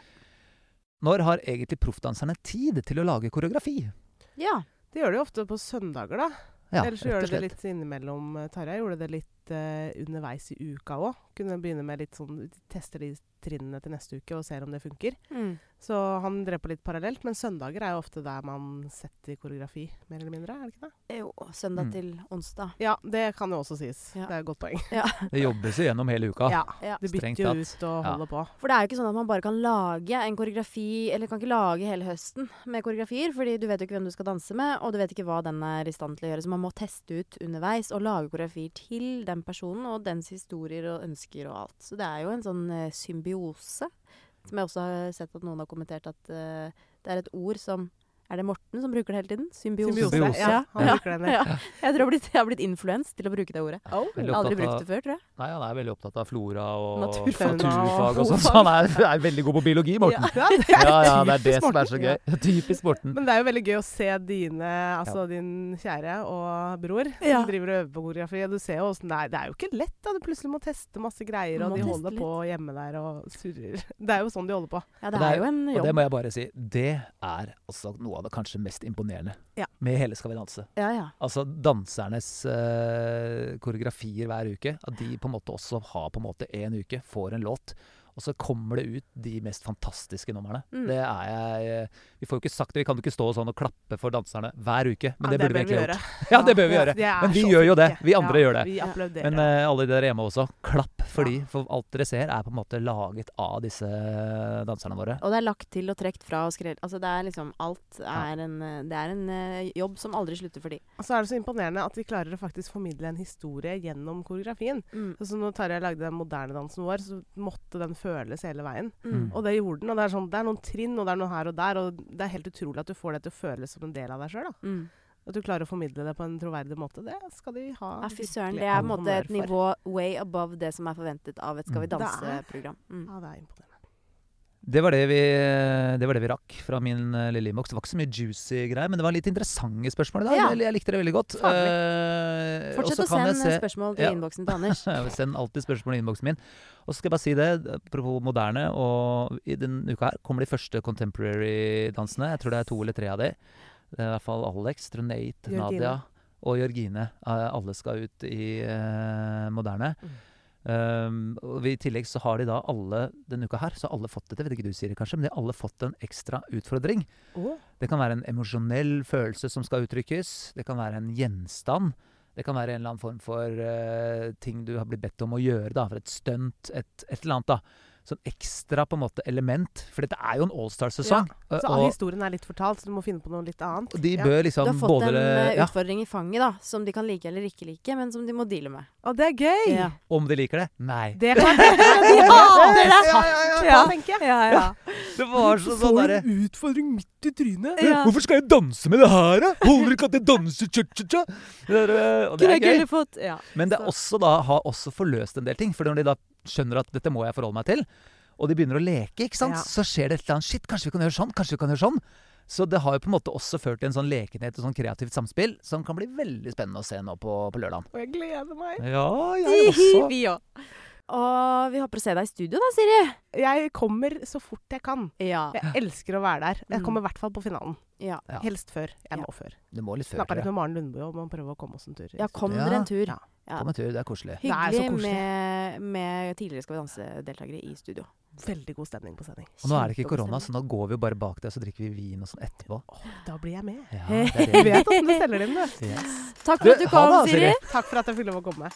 Speaker 2: Når har egentlig proffdanserne tid til å lage koreografi?
Speaker 1: ja.
Speaker 4: Det gjør de jo ofte på søndager, da.
Speaker 2: Ja,
Speaker 4: Ellers så gjør de det litt innimellom. Eh, Tarjei gjorde det litt eh, underveis i uka òg. Kunne begynne med litt sånn Tester de trinnene til neste uke og ser om det funker.
Speaker 1: Mm.
Speaker 4: Så han drev på litt parallelt. Men søndager er jo ofte der man setter koreografi, mer eller mindre. er det ikke det?
Speaker 1: Jo, søndag
Speaker 2: Mm.
Speaker 1: til onsdag.
Speaker 4: Ja, det kan jo også sies.
Speaker 1: Ja. Ah,
Speaker 4: Det er et godt poeng.
Speaker 2: Det jobbes jo gjennom hele uka.
Speaker 4: Ja.
Speaker 1: Ja.
Speaker 4: Det bytter
Speaker 2: Strengt
Speaker 4: jo
Speaker 2: tatt.
Speaker 4: ut og
Speaker 2: Ja.
Speaker 4: holder på.
Speaker 1: For det er jo ikke sånn at man bare kan lage en koreografi, eller kan ikke lage hele høsten med koreografier, fordi du vet jo ikke hvem du skal danse med, og du vet ikke hva den er i stand til å gjøre. Så man må teste ut underveis og lage koreografier til den personen og dens historier og ønsker og alt. Så det er jo en sånn eh, symbiose, som jeg også har sett at noen har kommentert at eh, det er et ord som Er det Morten som bruker det hele tiden? Symbiose.
Speaker 2: Symbiose.
Speaker 4: Ja,
Speaker 1: Ja.
Speaker 4: han bruker den.
Speaker 1: Ja. Jeg tror jeg har blitt, jeg har blitt influenset til å bruke det ordet.
Speaker 4: Oh.
Speaker 1: Jeg har aldri
Speaker 2: Veldig opptatt
Speaker 1: brukt det før, tror jeg.
Speaker 2: Nei, han er veldig opptatt av flora og
Speaker 1: Naturfag.
Speaker 2: naturfag og
Speaker 1: Fauna og
Speaker 2: sånn, så han er, er veldig god på biologi, Morten.
Speaker 4: Ja, det er
Speaker 2: Ja, ja, det er det
Speaker 4: typisk
Speaker 2: som er så
Speaker 4: Morten.
Speaker 2: gøy. Typisk Morten.
Speaker 4: Men det er jo veldig gøy å se dine, altså din kjære og bror som
Speaker 1: Ja.
Speaker 4: driver og øver på koreografi. Og du ser jo åssen det er. Det er jo ikke lett da. Du plutselig må teste masse greier, og
Speaker 1: Må
Speaker 4: de
Speaker 1: teste
Speaker 4: holder på hjemme der og surrer. Det er jo sånn de holder på.
Speaker 1: Ja, det
Speaker 2: Og det er-
Speaker 1: er jo en
Speaker 2: Og
Speaker 1: jobb.
Speaker 2: det må jeg bare si, det er altså noe av det kanskje mest imponerende
Speaker 4: Ja.
Speaker 2: med hele Skal vi danse.
Speaker 1: Ja, ja.
Speaker 2: Altså dansernes eh, koreografier hver uke, at de på en måte også har på en måte en uke, får en låt, og så kommer det ut de mest fantastiske numrene.
Speaker 1: Mm.
Speaker 2: Det er jeg eh, Vi får jo ikke sagt det, vi kan jo ikke stå sånn og klappe for danserne hver uke, men
Speaker 4: Ja,
Speaker 2: det, burde vi
Speaker 4: bør
Speaker 2: egentlig ha gjort. Ja, det bør vi gjøre.
Speaker 4: de er
Speaker 2: Men vi
Speaker 4: så
Speaker 2: gjør jo det.
Speaker 4: flinke.
Speaker 2: Vi andre gjør det.
Speaker 4: Vi
Speaker 1: Ja.
Speaker 4: applauderer.
Speaker 2: Men eh, alle dere hjemme også, klapp for de, for alt dere ser er på en måte laget av disse eh, danserne våre.
Speaker 1: Og det er lagt til og trukket fra og skrevet Altså det er liksom alt er en eh, Det er en eh, jobb som aldri slutter for de.
Speaker 4: Og så er det så imponerende at de klarer å faktisk formidle en historie gjennom koreografien.
Speaker 1: Mm.
Speaker 4: Så når Tarjei lagde den moderne dansen vår, så måtte den føles hele veien.
Speaker 1: Mm.
Speaker 4: Og det gjorde den. Og det er, sånn, det er noen trinn, og det er noe her og der. Og det er helt utrolig at du får det til å føles som en del av deg sjøl.
Speaker 1: Mm.
Speaker 4: At du klarer å formidle det på en troverdig måte, det skal de ha.
Speaker 1: Ja, fy søren.
Speaker 4: virkelig
Speaker 1: Det er på en måte
Speaker 4: honnør
Speaker 1: et
Speaker 4: for.
Speaker 1: nivå way above det som er forventet av et Skal vi
Speaker 2: Mm.
Speaker 1: danse-program. Mm.
Speaker 4: Ja, det er imponerende.
Speaker 2: Det var det vi, det var det vi rakk fra min eh, lille innboks. Det var ikke så mye juicy greier, men det var litt interessante spørsmål i dag.
Speaker 1: Ja.
Speaker 2: Jeg, jeg likte det veldig godt.
Speaker 4: Faglig.
Speaker 2: Eh, og
Speaker 1: Fortsett
Speaker 2: så
Speaker 1: å
Speaker 2: kan jeg
Speaker 1: sende
Speaker 2: se-
Speaker 1: spørsmål til
Speaker 2: Ja.
Speaker 1: innboksen til Anders.
Speaker 2: Send alltid spørsmål i innboksen min. Og så skal jeg bare si det, apropos moderne, og i denne uka her kommer de første contemporary-dansene. Jeg tror det er to eller tre av de. Det er i hvert fall Alex, tror Nate,
Speaker 4: Jørgine.
Speaker 2: Nadia og Jørgine. Eh, Alle skal ut i eh, moderne.
Speaker 4: Mm.
Speaker 2: Um, og I tillegg så har de da alle denne uka her, så har alle fått dette, vet ikke du Siri kanskje, men de har alle fått en ekstra utfordring. Det kan være en emosjonell følelse som skal uttrykkes. Det kan være en gjenstand. Det kan være en eller annen form for eh, ting du har blitt bedt om å gjøre. Da, for et stunt, et, et eller annet. da. Sånn ekstra på en måte element. For dette er jo en allstar-sesong.
Speaker 4: Så all historien er litt fortalt, så du må finne på noe litt annet.
Speaker 2: og de
Speaker 4: ja.
Speaker 2: bør
Speaker 1: Du
Speaker 2: liksom
Speaker 1: har fått
Speaker 2: både
Speaker 1: en eh,
Speaker 2: ja,
Speaker 1: utfordring i fanget, da. Som de kan like eller ikke like, men som de må deale med.
Speaker 4: Å, det er gøy!
Speaker 1: Ja.
Speaker 2: Om de liker det? Nei.
Speaker 4: Det kan jeg tenke meg.
Speaker 1: hater det!
Speaker 4: Ja, ja, ja,
Speaker 1: Ja.
Speaker 4: da tenker jeg.
Speaker 2: Det var så, sånn derre
Speaker 4: en utfordring midt i trynet.
Speaker 1: Ja.
Speaker 2: Hvorfor skal jeg danse med det her, da? Holder ikke at jeg danser cha-cha-cha? Det er, eh, og det er gøy.
Speaker 1: Ja.
Speaker 2: Men det er
Speaker 4: Så-
Speaker 2: også da, har også forløst en del ting. For når de da skjønner at dette må jeg forholde meg til, og de begynner å leke, ikke sant?
Speaker 4: Ja.
Speaker 2: så skjer det et eller annet. Shit, kanskje vi kan gjøre sånn? Kanskje vi kan gjøre sånn? Så det har jo på en måte også ført til en sånn lekenhet og sånn kreativt samspill som kan bli veldig spennende å se nå på, på lørdagen.
Speaker 4: Og jeg gleder meg.
Speaker 2: Ja,
Speaker 1: Vi òg. Og vi håper å se deg i studio da, Siri.
Speaker 4: Jeg kommer så fort jeg kan.
Speaker 1: Ja.
Speaker 4: Jeg elsker å være der. Jeg
Speaker 1: Mm.
Speaker 4: kommer i hvert fall på finalen.
Speaker 1: Ja.
Speaker 2: Ja.
Speaker 4: Helst før. Jeg må før.
Speaker 2: Det må litt før.
Speaker 4: Snakka
Speaker 2: tror
Speaker 4: litt
Speaker 2: jeg.
Speaker 4: med Maren Lundbø om å prøve å komme oss en tur. i
Speaker 1: ja, kom
Speaker 2: Ja.
Speaker 1: dere en tur.
Speaker 4: Ja.
Speaker 1: Ja.
Speaker 2: Kom en tur, det er koselig.
Speaker 4: Det er så
Speaker 1: Hyggelig
Speaker 4: koselig.
Speaker 1: med, med tidligere Skal vi danse-deltakere i studio.
Speaker 4: Veldig god stemning på sending.
Speaker 2: Og nå er det ikke
Speaker 1: Kjempegod
Speaker 2: korona,
Speaker 1: stemning.
Speaker 2: så nå går vi jo bare bak deg, så drikker vi vin og sånn etterpå.
Speaker 4: Da blir jeg med.
Speaker 2: Ja, det er
Speaker 4: Du
Speaker 2: det.
Speaker 4: vet åssen du selger det inn, du.
Speaker 2: Yes.
Speaker 1: Takk for at
Speaker 2: Du,
Speaker 1: du
Speaker 2: ha
Speaker 1: kom,
Speaker 2: det da, Siri.
Speaker 1: Siri.
Speaker 4: Takk for at jeg fikk lov å komme.